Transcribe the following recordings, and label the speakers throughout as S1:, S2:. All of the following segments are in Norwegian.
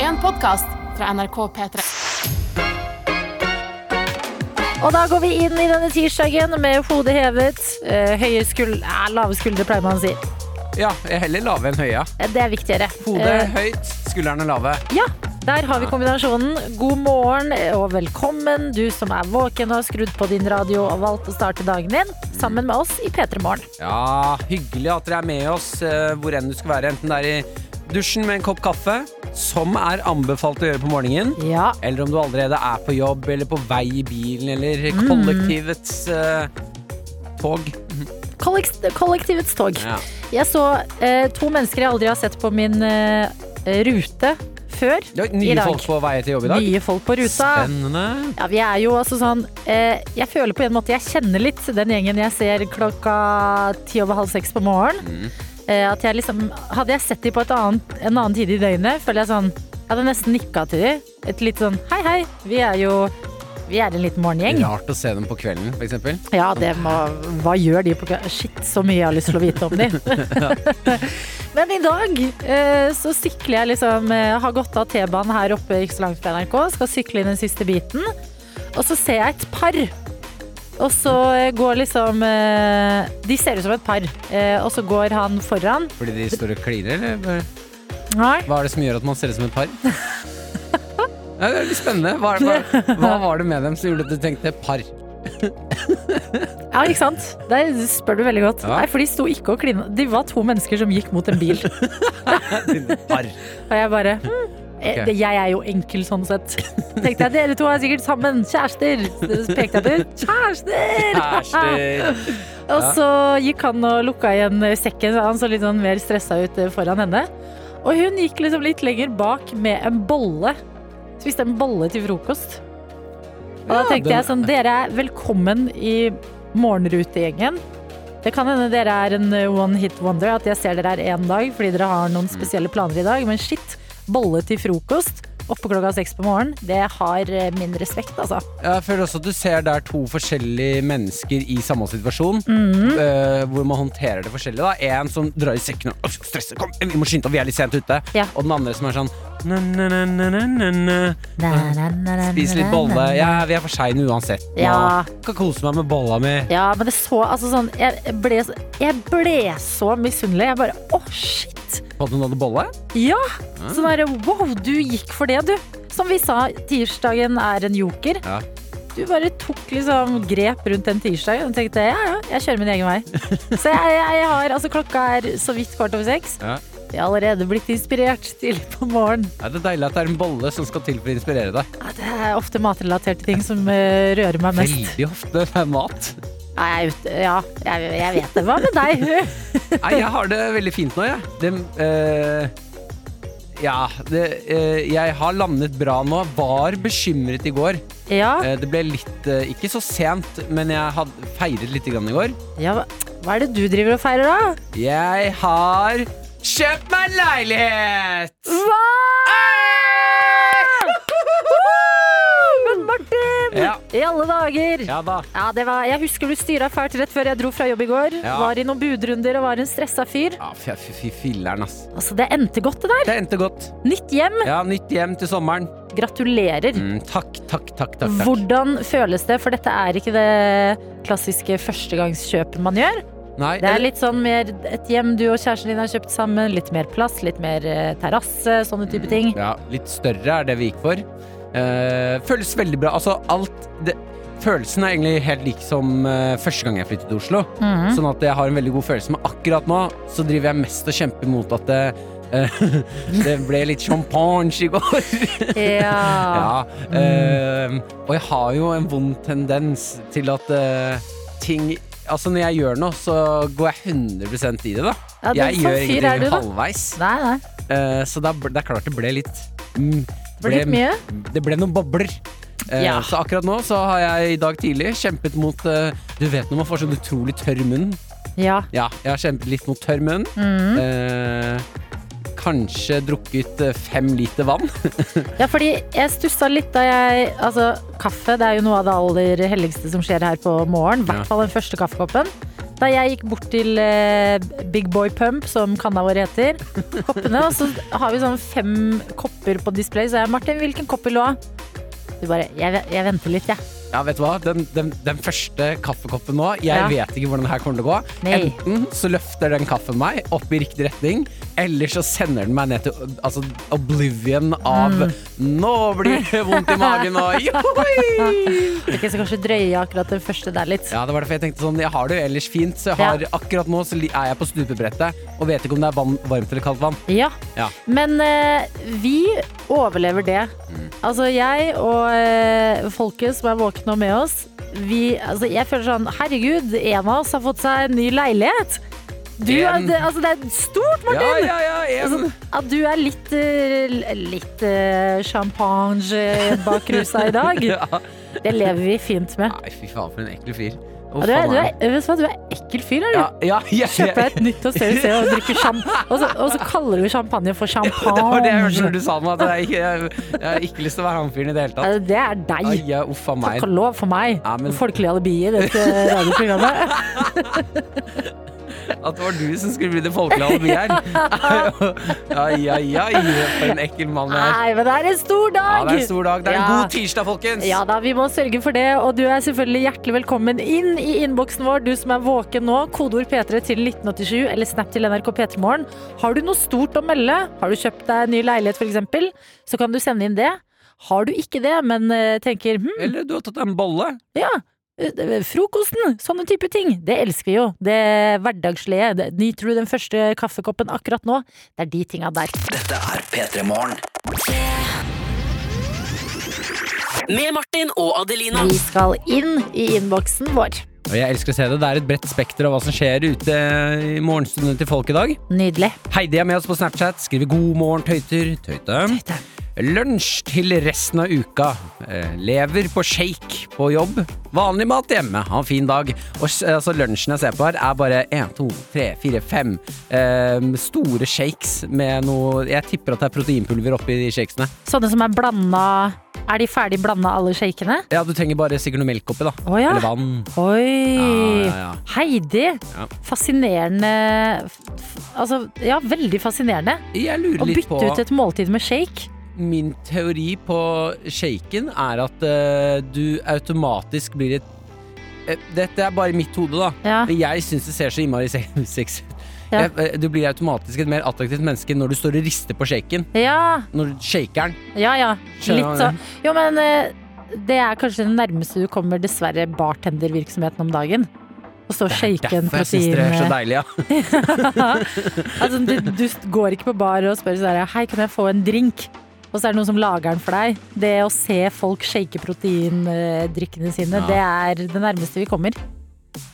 S1: en podkast fra NRK P3.
S2: Og da går vi inn i denne tirsdagen med hodet hevet. eh, Høye skul- eh, lave skuldre, pleier man å si.
S3: Ja, jeg er heller lave enn høye.
S2: Eh, Det er viktigere.
S3: Hodet
S2: Eh,
S3: høyt, skuldrene lave.
S2: Ja, der har vi kombinasjonen. God morgen og velkommen, du som er våken og har skrudd på din radio og valgt å starte dagen din sammen med oss i P3 Morgen.
S3: Ja, hyggelig at dere er med oss eh, hvor enn du skal være. Enten det er i dusjen med en kopp kaffe, som er anbefalt å gjøre på morgenen,
S2: Ja,
S3: eller om du allerede er på jobb eller på vei i bilen eller
S2: Mm.
S3: kollektivets eh, tog.
S2: kollekt kollektivets tog.
S3: Ja.
S2: Jeg så eh, to mennesker jeg aldri har sett på min eh, rute før
S3: Det er
S2: i
S3: nye
S2: dag.
S3: folk på vei til jobb i dag.
S2: Nye folk på ruta.
S3: Spennende.
S2: Ja, vi er jo altså sånn eh, Jeg føler på en måte jeg kjenner litt den gjengen jeg ser klokka ti over halv seks på morgenen. Eh, at jeg liksom, hadde jeg sett de på et annet, en annen tid i døgnet, føler jeg sånn Jeg hadde nesten nikka til de. Et litt sånn hei, hei, vi er jo vi er en liten morgengjeng. Ja,
S3: Rart å se dem på kvelden, for eksempel.
S2: det må, Hva gjør de på kvelden? Shit, så mye jeg har lyst til å vite om de. Men i dag eh, så sykler jeg liksom eh, Har gått av T-banen her oppe ikke så langt fra NRK. Skal sykle inn den siste biten. Og så ser jeg et par. Og så eh, går liksom eh, De ser ut som et par. Eh, og så går han foran.
S3: Fordi de står og kliner, eller?
S2: Nei.
S3: Hva er det som gjør at man ser ut som et par? Ja, det er litt spennende. Hva, hva, hva var det med dem som gjorde at du tenkte par?
S2: Ja, ikke sant? Der spør du veldig godt.
S3: Ja.
S2: Nei, for de sto ikke og klina. De var to mennesker som gikk mot en bil.
S3: Par.
S2: Og jeg bare hm, eh,
S3: Ok.
S2: det- Jeg er jo enkel sånn sett. Tenkte jeg, dere to er sikkert sammen. Kjærester. Så Pekte jeg til. Kjærester!
S3: Kjærester.
S2: Og
S3: Ja.
S2: så gikk han og lukka igjen sekken, så han så litt sånn mer stressa ut eh, foran henne. Og hun gikk liksom litt lenger bak med en bolle. Spiste en bolle til frokost. Og da
S3: Ja,
S2: tenkte
S3: den-
S2: jeg sånn, dere er velkommen i morgenrutegjengen. Det kan hende dere er en eh, one hit wonder, at jeg ser dere her én dag fordi dere har noen
S3: Mm.
S2: spesielle planer i dag, men shit, bolle til frokost oppe klokka seks på morgenen, det har eh, min respekt, altså.
S3: Jeg føler også at du ser der to forskjellige mennesker i samme situasjon.
S2: Mhm.
S3: eh, hvor man håndterer det forskjellig. da En som drar i sekken og «Åh, stresser. Kom, vi må skynde oss, vi er litt sent ute.
S2: Ja.
S3: Og den andre som er sånn na, na, na, na, na, na, na. Spis
S2: Spis
S3: litt bolle. Ja, vi er for seine uansett. Nå
S2: Ja.
S3: Kan kose meg med bolla mi.
S2: Ja, men det så altså sånn Jeg ble, så- jeg ble så misunnelig. Jeg bare Å, shit!
S3: Fant du noe bolle?
S2: Ja! Sånn derre Wow, du gikk for det, du. Som vi sa, tirsdagen er en joker.
S3: Ja.
S2: Du bare tok liksom grep rundt den tirsdagen og tenkte ja, ja, jeg kjører min egen vei. Så jeg, jeg, jeg har Altså, klokka er så vidt kvart over seks.
S3: Ja.
S2: Jeg har allerede blitt inspirert tidlig på morgenen.
S3: Er det deilig at det er en bolle som skal til for å inspirere deg?
S2: Ja, Det er ofte matrelaterte ting som eh, rører meg mest.
S3: Veldig ofte det er mat.
S2: Nei, jeg, er ute- ja, jeg, jeg vet det. Hva med deg?
S3: Nei, jeg har det veldig fint nå, jeg. Det, eh, ja, det, eh, jeg har landet bra nå. Var bekymret i går.
S2: Ja.
S3: Eh, det ble litt eh, Ikke så sent, men jeg hadde feiret litt grann i går.
S2: Ja, hva- hva er det du driver og feirer da?
S3: Jeg har kjøpt meg leilighet!
S2: Men Martin!
S3: Ja.
S2: I alle dager! Ja.
S3: Ja da.
S2: det var, jeg husker du styra fælt rett før jeg dro fra jobb i går.
S3: Ja.
S2: Var i noen budrunder og var en stressa fyr.
S3: Ja, fy, fy, fy filler'n, ass.
S2: Altså, det endte godt, det der.
S3: Det endte godt.
S2: Nytt hjem.
S3: Ja, Nytt hjem til sommeren.
S2: Gratulerer.
S3: Mm, takk, takk, takk. takk, takk.
S2: Hvordan føles det? For dette er ikke det klassiske førstegangskjøpet man gjør.
S3: Nei,
S2: Det er litt sånn mer et hjem du og kjæresten din har kjøpt sammen. Litt mer plass, litt mer eh, terrasse, sånne type ting.
S3: Ja, litt større er det vi gikk for. Eh, føles veldig bra. Altså, alt det, Følelsen er egentlig helt lik som eh, første gang jeg flyttet til Oslo.
S2: Mhm.
S3: Sånn at jeg har en veldig god følelse. Men akkurat nå så driver jeg mest og kjemper mot at det, eh, det ble litt champagne i går.
S2: Ja. Mm.
S3: ja. eh, og jeg har jo en vond tendens til at eh, ting Altså, når jeg gjør noe, så går jeg 100 i det, da.
S2: Ja, det-
S3: jeg
S2: sånn fyr
S3: gjør
S2: er du,
S3: ingenting
S2: da.
S3: halvveis.
S2: Nei, nei.
S3: Eh, Så da, ble- det er klart det ble litt mm,
S2: Ble litt mye?
S3: Det ble noen bobler. Eh,
S2: Ja.
S3: Så akkurat nå så har jeg i dag tidlig kjempet mot eh, Du vet når man får sånn utrolig tørr munn?
S2: Ja.
S3: Ja, jeg har kjempet litt mot tørr munn.
S2: Mm.
S3: Eh, kanskje drukket eh, fem liter vann.
S2: Ja, fordi jeg stussa litt da jeg Altså, kaffe det er jo noe av det aller helligste som skjer her på morgen. I
S3: Ja.
S2: hvert fall den første kaffekoppen. Da jeg gikk bort til eh, Big Boy Pump, som kanna vår heter, koppene, og så har vi sånn fem kopper på display, så jeg Martin, hvilken kopp vil du ha? Du bare Jeg, ve- jeg venter litt, jeg.
S3: Ja, vet du hva? Den, den, den første kaffekoppen nå, jeg
S2: Ja.
S3: vet ikke hvordan det her kommer til å gå.
S2: Nei.
S3: Enten så løfter den kaffen meg opp i riktig retning, eller så sender den meg ned til altså, oblivion av
S2: Mm.
S3: Nå blir det vondt i magen og johoi!
S2: Jeg skal kanskje drøye akkurat den første der litt.
S3: Ja, det var derfor jeg tenkte sånn, jeg har det jo ellers fint, så jeg har,
S2: Ja.
S3: akkurat nå så li- er jeg på stupebrettet og vet ikke om det er vann, varmt eller kaldt vann.
S2: Ja.
S3: Ja.
S2: Men eh, vi overlever det.
S3: Mm.
S2: Altså jeg og eh, folket som er våkne og med oss, vi, altså, jeg føler sånn Herregud, en av oss har fått seg en ny leilighet. Du,
S3: En.
S2: det, altså, det er stort,
S3: Ja,
S2: Martin!
S3: ja, ja, en.
S2: At du er litt, eh, litt eh, champagne bak rusa i dag.
S3: Ja.
S2: Det lever vi fint med.
S3: Nei, fy faen, for en ekkel fyr.
S2: Og
S3: Å,
S2: du, er,
S3: faen
S2: du, er,
S3: det?
S2: vet du hva, du er ekkel fyr, er du.
S3: Ja, ja, jeg-
S2: Kjøp deg et nytt og større sted og drikke champagne. Og, så- og så kaller du champagne for
S3: Det var det jeg hørte
S2: champagne.
S3: når du sa noe, at jeg, ikke, jeg, jeg har ikke lyst til å være han fyren i det hele tatt.
S2: Altså, Det er deg.
S3: Ai, ja, uff a meg.
S2: Takk og lov for meg.
S3: Ja, men-
S2: Folkelig alibi i dette radioprogrammet.
S3: At det var du som skulle bli det folkelige alibi her. Ai, ai, ai. For en ekkel mann jeg er.
S2: Nei, men det er en stor dag!
S3: Ja, det er en stor dag. Det er en
S2: Ah, Ja.
S3: god tirsdag, folkens.
S2: Ja da, vi må sørge for det, og du er selvfølgelig hjertelig velkommen inn i innboksen vår, du som er våken nå. Kodeord P3 til 1987 eller snap til NRK P3morgen. Har du noe stort å melde, har du kjøpt deg en ny leilighet f.eks., så kan du sende inn det. Har du ikke det, men eh, tenker hm,
S3: Eller du har tatt deg en bolle.
S2: ja, eh, frokosten, sånne type ting. Det elsker vi jo. Det hverdagslige. det- Nyter du den første kaffekoppen akkurat nå? Det er de tinga der.
S4: Dette er P3 Morgen. Med Martin og Adelina.
S2: Vi skal inn i innboksen vår.
S3: Og jeg elsker å se det. Det er et bredt spekter av hva som skjer ute i morgenstundene til folk i dag.
S2: Nydelig.
S3: Heidi er med oss på Snapchat. Skriver 'God morgen, tøyter'. Tøyte.
S2: Tøyte.
S3: Lunsj til resten av uka. Eh, Lever på shake på jobb. Vanlig mat hjemme. Ha en fin dag. Og s- altså, lunsjen jeg ser på her, er bare én, to, tre, fire, fem eh, store shakes med noe Jeg tipper at det er proteinpulver oppi de shakesene.
S2: Sånne som er blanda Er de ferdig blanda, alle shakene?
S3: Ja, du trenger bare sikkert noe melk oppi, da.
S2: Å ja.
S3: Eller vann.
S2: Oi!
S3: Ja, ja, ja.
S2: Heidi!
S3: Ja.
S2: Fascinerende f- f- Altså, ja, veldig fascinerende.
S3: Jeg
S2: Å
S3: lurer litt
S2: bytte
S3: på
S2: ut et måltid med shake.
S3: Min teori på shaken er at eh, du automatisk blir et eh, Dette er bare mitt hode, da.
S2: Ja.
S3: Men jeg syns det ser så innmari se- sexy ut.
S2: Ja.
S3: Jeg- eh, Du blir automatisk et mer attraktivt menneske når du står og rister på shaken.
S2: Ja,
S3: Når du shaker den.
S2: ja. ja.
S3: Skjønner
S2: Litt
S3: du
S2: sånn. Jo, men eh, det er kanskje det nærmeste du kommer, dessverre, bartendervirksomheten om dagen. Å stå og shake en
S3: Derfor jeg syns dere er
S2: protein
S3: så
S2: eh,
S3: deilige. Ja.
S2: altså, du, du går ikke på bar og spør sånn her, Hei, kan jeg få en drink? Og så er det noen som lager den for deg. Det å se folk shake proteindrikkene sine,
S3: Ja.
S2: det er det nærmeste vi kommer.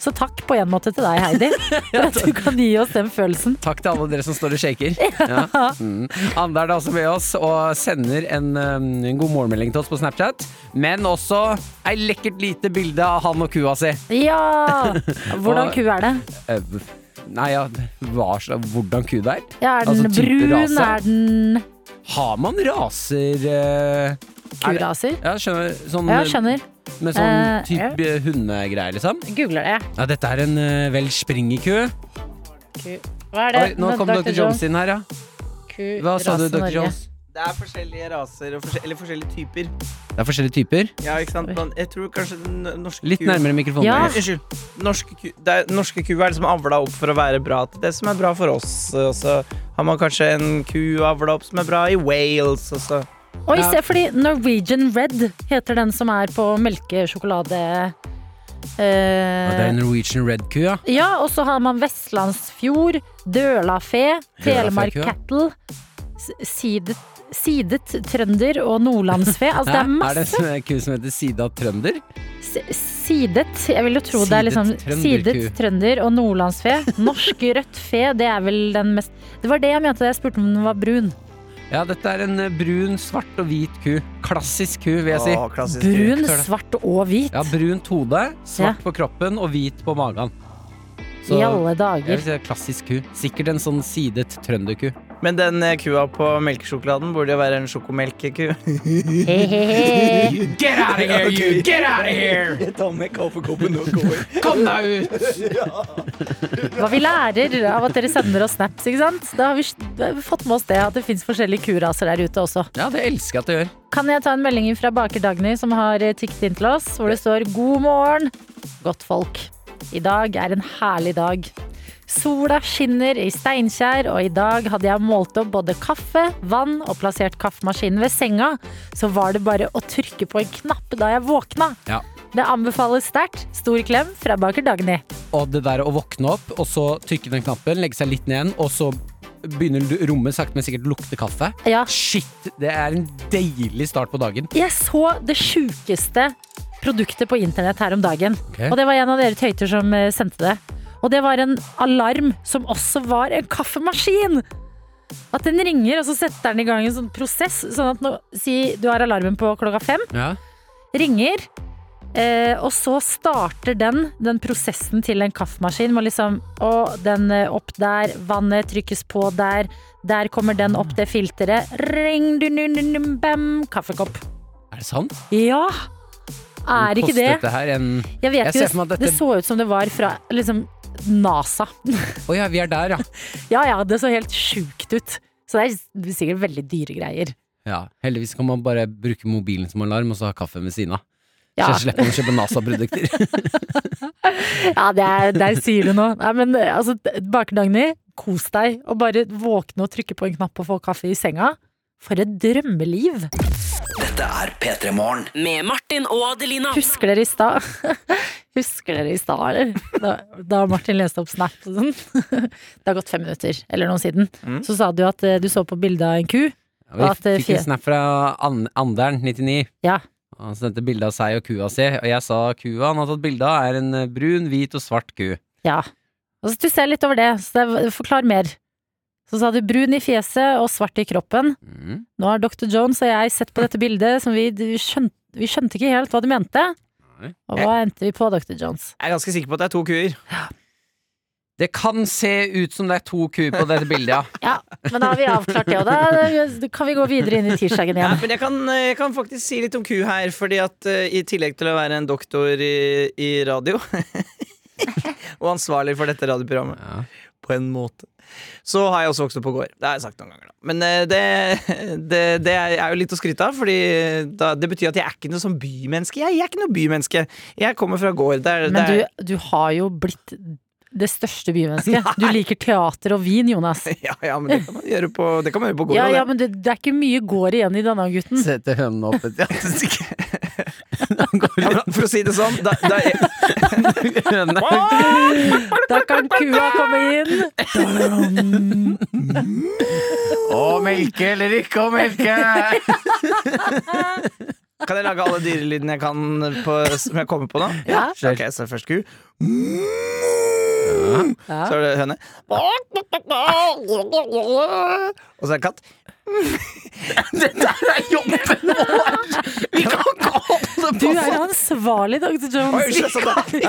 S2: Så takk på en måte til deg, Heidi, for at du kan gi oss den følelsen.
S3: Takk til alle dere som står og shaker. Ja. Mm. Ander er også med oss og sender en, um, en god morgenmelding til oss på Snapchat. Men også ei lekkert lite bilde av han og kua si.
S2: Ja! Hvordan
S3: Og-
S2: ku er det?
S3: Eh, Nei, ja, hva slags Hvordan ku det er?
S2: Ja, er den
S3: Altså, type
S2: brun?
S3: rase?
S2: Er den
S3: Har man raser eh, er det-
S2: kuraser?
S3: Ja, skjønner. Sånn,
S2: Ja, skjønner.
S3: Med sånn
S2: Eh,
S3: type hundegreier, liksom?
S2: Googler det.
S3: Ja, dette er en eh, vel springerku.
S2: Hva er det?
S3: Oi, nå kom dr. Jones inn her, ja. Hva sa du, dr. Jones?
S5: Det er forskjellige raser, og forskjell- eller forskjellige typer.
S3: Det er forskjellige typer.
S5: Ja, ikke sant? Man, jeg tror kanskje den n- norske
S3: Litt
S5: ku-
S3: nærmere mikrofonen.
S2: Ja.
S3: Jonas.
S5: Unnskyld. Norske ku, det er, norske ku er liksom avla opp for å være bra til det som er bra for oss. Og så har man kanskje en ku avla opp som er bra i Wales. altså. Og så.
S2: Oi, se, fordi Norwegian Red heter den som er på melkesjokolade.
S3: Ja, det er en
S2: Eh,
S3: Norwegian Red Ku, ja.
S2: ja, og så har man Vestlandsfjord, Dølafe, Telemark
S3: Dølafe, ja.
S2: Cattle, s- sidet, sidet Trønder og Nordlandsfe. Altså, det
S3: Hæ?
S2: er
S3: er det
S2: masse
S3: en eh, ku som heter Sida Trønder?
S2: s- Sidet, jeg vil jo tro det er
S3: Sidet
S2: liksom
S3: trønderku.
S2: Sidet Trønder og Nordlandsfe. Norsk rødt fe, det er vel den mest Det var det jeg mente da jeg spurte om den var brun.
S3: Ja, dette er en eh, brun, svart og hvit ku. Klassisk ku, vil jeg si.
S5: Å, klassisk ku.
S2: Brun,
S3: Klart det.
S2: svart og hvit.
S3: Ja, brunt hode, svart
S2: Ja.
S3: på kroppen og hvit på magen.
S2: I alle
S3: jeg vil
S2: dager.
S3: si det er klassisk ku. Sikkert en sånn sidet trønderku.
S5: Men den eh, kua på melkesjokoladen burde jo være en sjokomelkeku.
S3: Get out of here, you! Get out of here!
S6: Jeg tar med kaffekoppen og går.
S3: Kom deg ut!
S2: Hva vi lærer av at dere sender oss snaps, ikke sant? Da har vi da har vi fått med oss det at det fins forskjellige kuraser der ute også.
S3: Ja, det elsker jeg at du gjør.
S2: Kan jeg ta en melding fra baker Dagny som har eh, tikket inn til oss, hvor det står God morgen, godt folk. I dag er en herlig dag. Sola skinner i Steinkjer, og i dag hadde jeg målt opp både kaffe, vann og plassert kaffemaskinen ved senga. Så var det bare å trykke på en knapp da jeg våkna.
S3: Ja.
S2: Det anbefales sterkt. Stor klem fra baker Dagny.
S3: Og det der å våkne opp, og så trykke den knappen, legge seg litt ned igjen, og så begynner du- rommet sakte, men sikkert å lukte kaffe.
S2: Ja.
S3: Shit, det er en deilig start på dagen.
S2: Jeg så det sjukeste produktet på internett her om dagen.
S3: Ok.
S2: Og det var en av dere tøyter som eh, sendte det. Og det var en alarm som også var en kaffemaskin! At den ringer, og så setter den i gang en sånn prosess. Sånn at nå, si du har alarmen på klokka fem,
S3: Ja.
S2: ringer, eh, og så starter den den prosessen til en kaffemaskin. Må liksom, og den eh, opp der, vannet trykkes på der, der kommer den opp det filteret. Ring, dun, dun, dun, dun, bam, kaffekopp.
S3: Er det sant?
S2: Ja! Er ikke det?
S3: Kostet det her en
S2: Jeg vet
S3: Jeg
S2: ikke,
S3: ser for meg at
S2: det
S3: dette-
S2: så ut som det var fra liksom, NASA.
S3: Å ja, vi er der, ja.
S2: Ja ja, det så helt sjukt ut. Så det er sikkert veldig dyre greier.
S3: ja. Heldigvis kan man bare bruke mobilen som alarm, og så ha kaffen ved siden av.
S2: Ja,
S3: Så slipper man å kjøpe NASA-produkter.
S2: ja det er, der sier du noe. Nei, men altså, Baker Dagny, kos deg. Og bare våkne og trykke på en knapp og få kaffe i senga. For et drømmeliv!
S4: Dette er P3 Morgen. Med Martin og Adelina.
S2: Husker dere i stad? Husker dere i stad, eller? Da, da Martin leste opp Snap og sånn. Det har gått fem minutter eller noe siden.
S3: Mm.
S2: Så sa du at eh, du så på bilde av en ku.
S3: Ja,
S2: At,
S3: vi
S2: eh,
S3: fikk en
S2: fje-
S3: snap fra An Andern, 99.
S2: Ja.
S3: Han sendte bilde av seg og kua si, og jeg sa kua han har tatt bilde av, er en eh, brun, hvit og svart ku.
S2: Ja. Altså, Og så stusser jeg litt over det, så det var- forklar mer. Så sa du brun i fjeset og svart i kroppen.
S3: Mm.
S2: Nå har Dr. Jones og jeg sett på dette bildet som vi, vi, skjønte, vi skjønte ikke helt hva du mente.
S3: Nei.
S2: Og hva endte vi på, Dr. Jones?
S5: Jeg er ganske sikker på at det er to kuer.
S3: Det kan se ut som det er to kuer på dette bildet, ja.
S2: Ja, men da har vi avklart det, og da kan vi gå videre inn i tirsdagen
S5: Ja,
S2: igjen.
S5: men jeg kan, jeg kan faktisk si litt om ku her, fordi at eh, i tillegg til å være en doktor i, i radio Og ansvarlig for dette radioprogrammet,
S3: Ja.
S5: på en måte, så har jeg også vokst opp på gård. Det har jeg sagt noen ganger, da. Men eh, det, det, det er jo litt å skryte av, fordi eh, da, det betyr at jeg er ikke noe sånn bymenneske. Jeg, jeg er ikke noe bymenneske. Jeg kommer fra gård. Det er,
S2: Men
S5: det er,
S2: du, du har jo blitt det største bymennesket. Du liker teater og vin, Jonas.
S5: Ja, ja, men det kan man gjøre på, det kan man gjøre på gård.
S2: Ja,
S5: og det.
S2: ja, men det, det er ikke mye går igjen i Danang-gutten.
S3: Sette hønene opp et
S5: Ja, men for å si det sånn, da, da,
S2: Da kan kua komme inn.
S3: Å, melke eller ikke å melke!
S5: Kan jeg lage alle dyrelydene jeg kan på, som jeg kommer på nå?
S2: Ja.
S5: Ok, så først ku.
S2: Ja.
S5: Så er det høne. Og så er det katt.
S2: Du er ansvarlig, Dr. Jones.
S5: Oi, unnskyld, jeg sa det.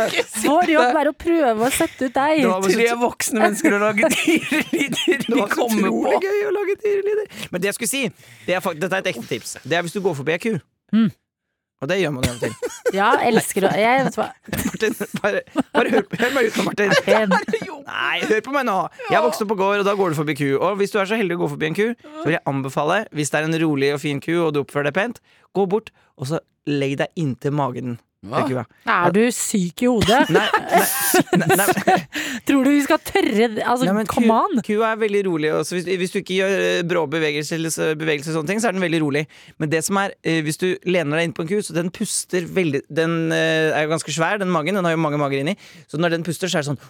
S2: Vår jobb er å prøve å sette ut deg.
S5: Det var bare så-
S3: voksne mennesker og lager dyrelyder
S5: det var så utrolig gøy å lage dyrelyder. Men det jeg skulle si, det er, fakt- dette er et ekte tips. Det er hvis du går forbi ei ku.
S2: Mm.
S5: Og det gjør man jo av og til.
S2: Ja, elsker å Jeg vet hva.
S5: Martin, bare, bare hør, hør meg ut nå, Martin.
S2: En.
S5: Nei, hør på meg nå. Jeg vokste opp på gård, og da går du forbi ku. Og hvis du er så heldig å gå forbi en ku, så vil jeg anbefale, hvis det er en rolig og fin ku, og du oppfører deg pent, gå bort, og så legg deg inntil magen til kua.
S2: Er du syk i hodet?
S5: Nei, nei, nei, nei,
S2: Tror du vi skal tørre det? Altså,
S5: nei men ku,
S2: come on!
S5: kua er veldig rolig. Og så hvis, hvis du ikke gjør eh, brå bevegelser, eller så- bevegelser og sånne ting, så er den veldig rolig. Men det som er, eh, hvis du lener deg inn på en ku, så den puster veldig Den eh, er jo ganske svær, den magen. Den har jo mange mager inni. Så når den puster, så er det sånn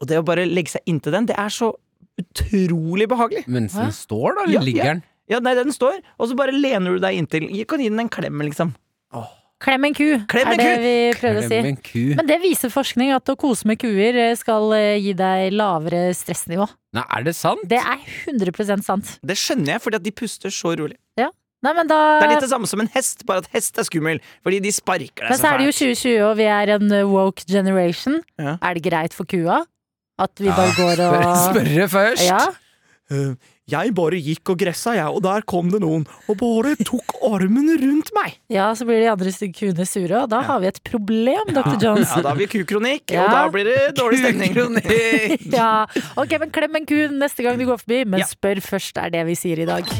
S5: Og det å bare legge seg inntil den, det er så utrolig behagelig.
S3: Mens den står, da?
S5: Ja,
S3: Eller ligger den?
S5: Ja, nei, den står, og så bare lener du deg inntil. Jeg kan gi den en klem, liksom.
S2: Klem en ku,
S5: Klem en
S2: er det
S5: ku!
S2: vi prøvde å
S3: Klem
S2: si.
S3: en ku.
S2: Men det viser forskning at å kose med kuer skal eh, gi deg lavere stressnivå.
S3: Nei, er det sant?
S2: Det er 100 sant.
S5: Det skjønner jeg, fordi at de puster så rolig.
S2: Nei, men da
S5: Det er litt det samme som en hest, bare at hest er skummel. Fordi de sparker deg
S2: Men så er det jo 2020, og vi er en eh, woke generation.
S5: Ja.
S2: Er det greit for kua At vi bare går og
S3: Spørre Ah, først.
S2: Ja,
S6: Eh, Jeg bare gikk og gressa, jeg, og der kom det noen og bare tok armen rundt meg.
S2: ja, så blir de andre stygge kuene sure, og da har vi et problem, dr. Jones.
S5: Ja, da har vi kukronikk,
S2: Ja.
S5: og da blir det dårlig stemning.
S3: Kronikk.
S2: Ja, ok, men klem en ku neste gang du går forbi, men spør først, er det vi sier i dag.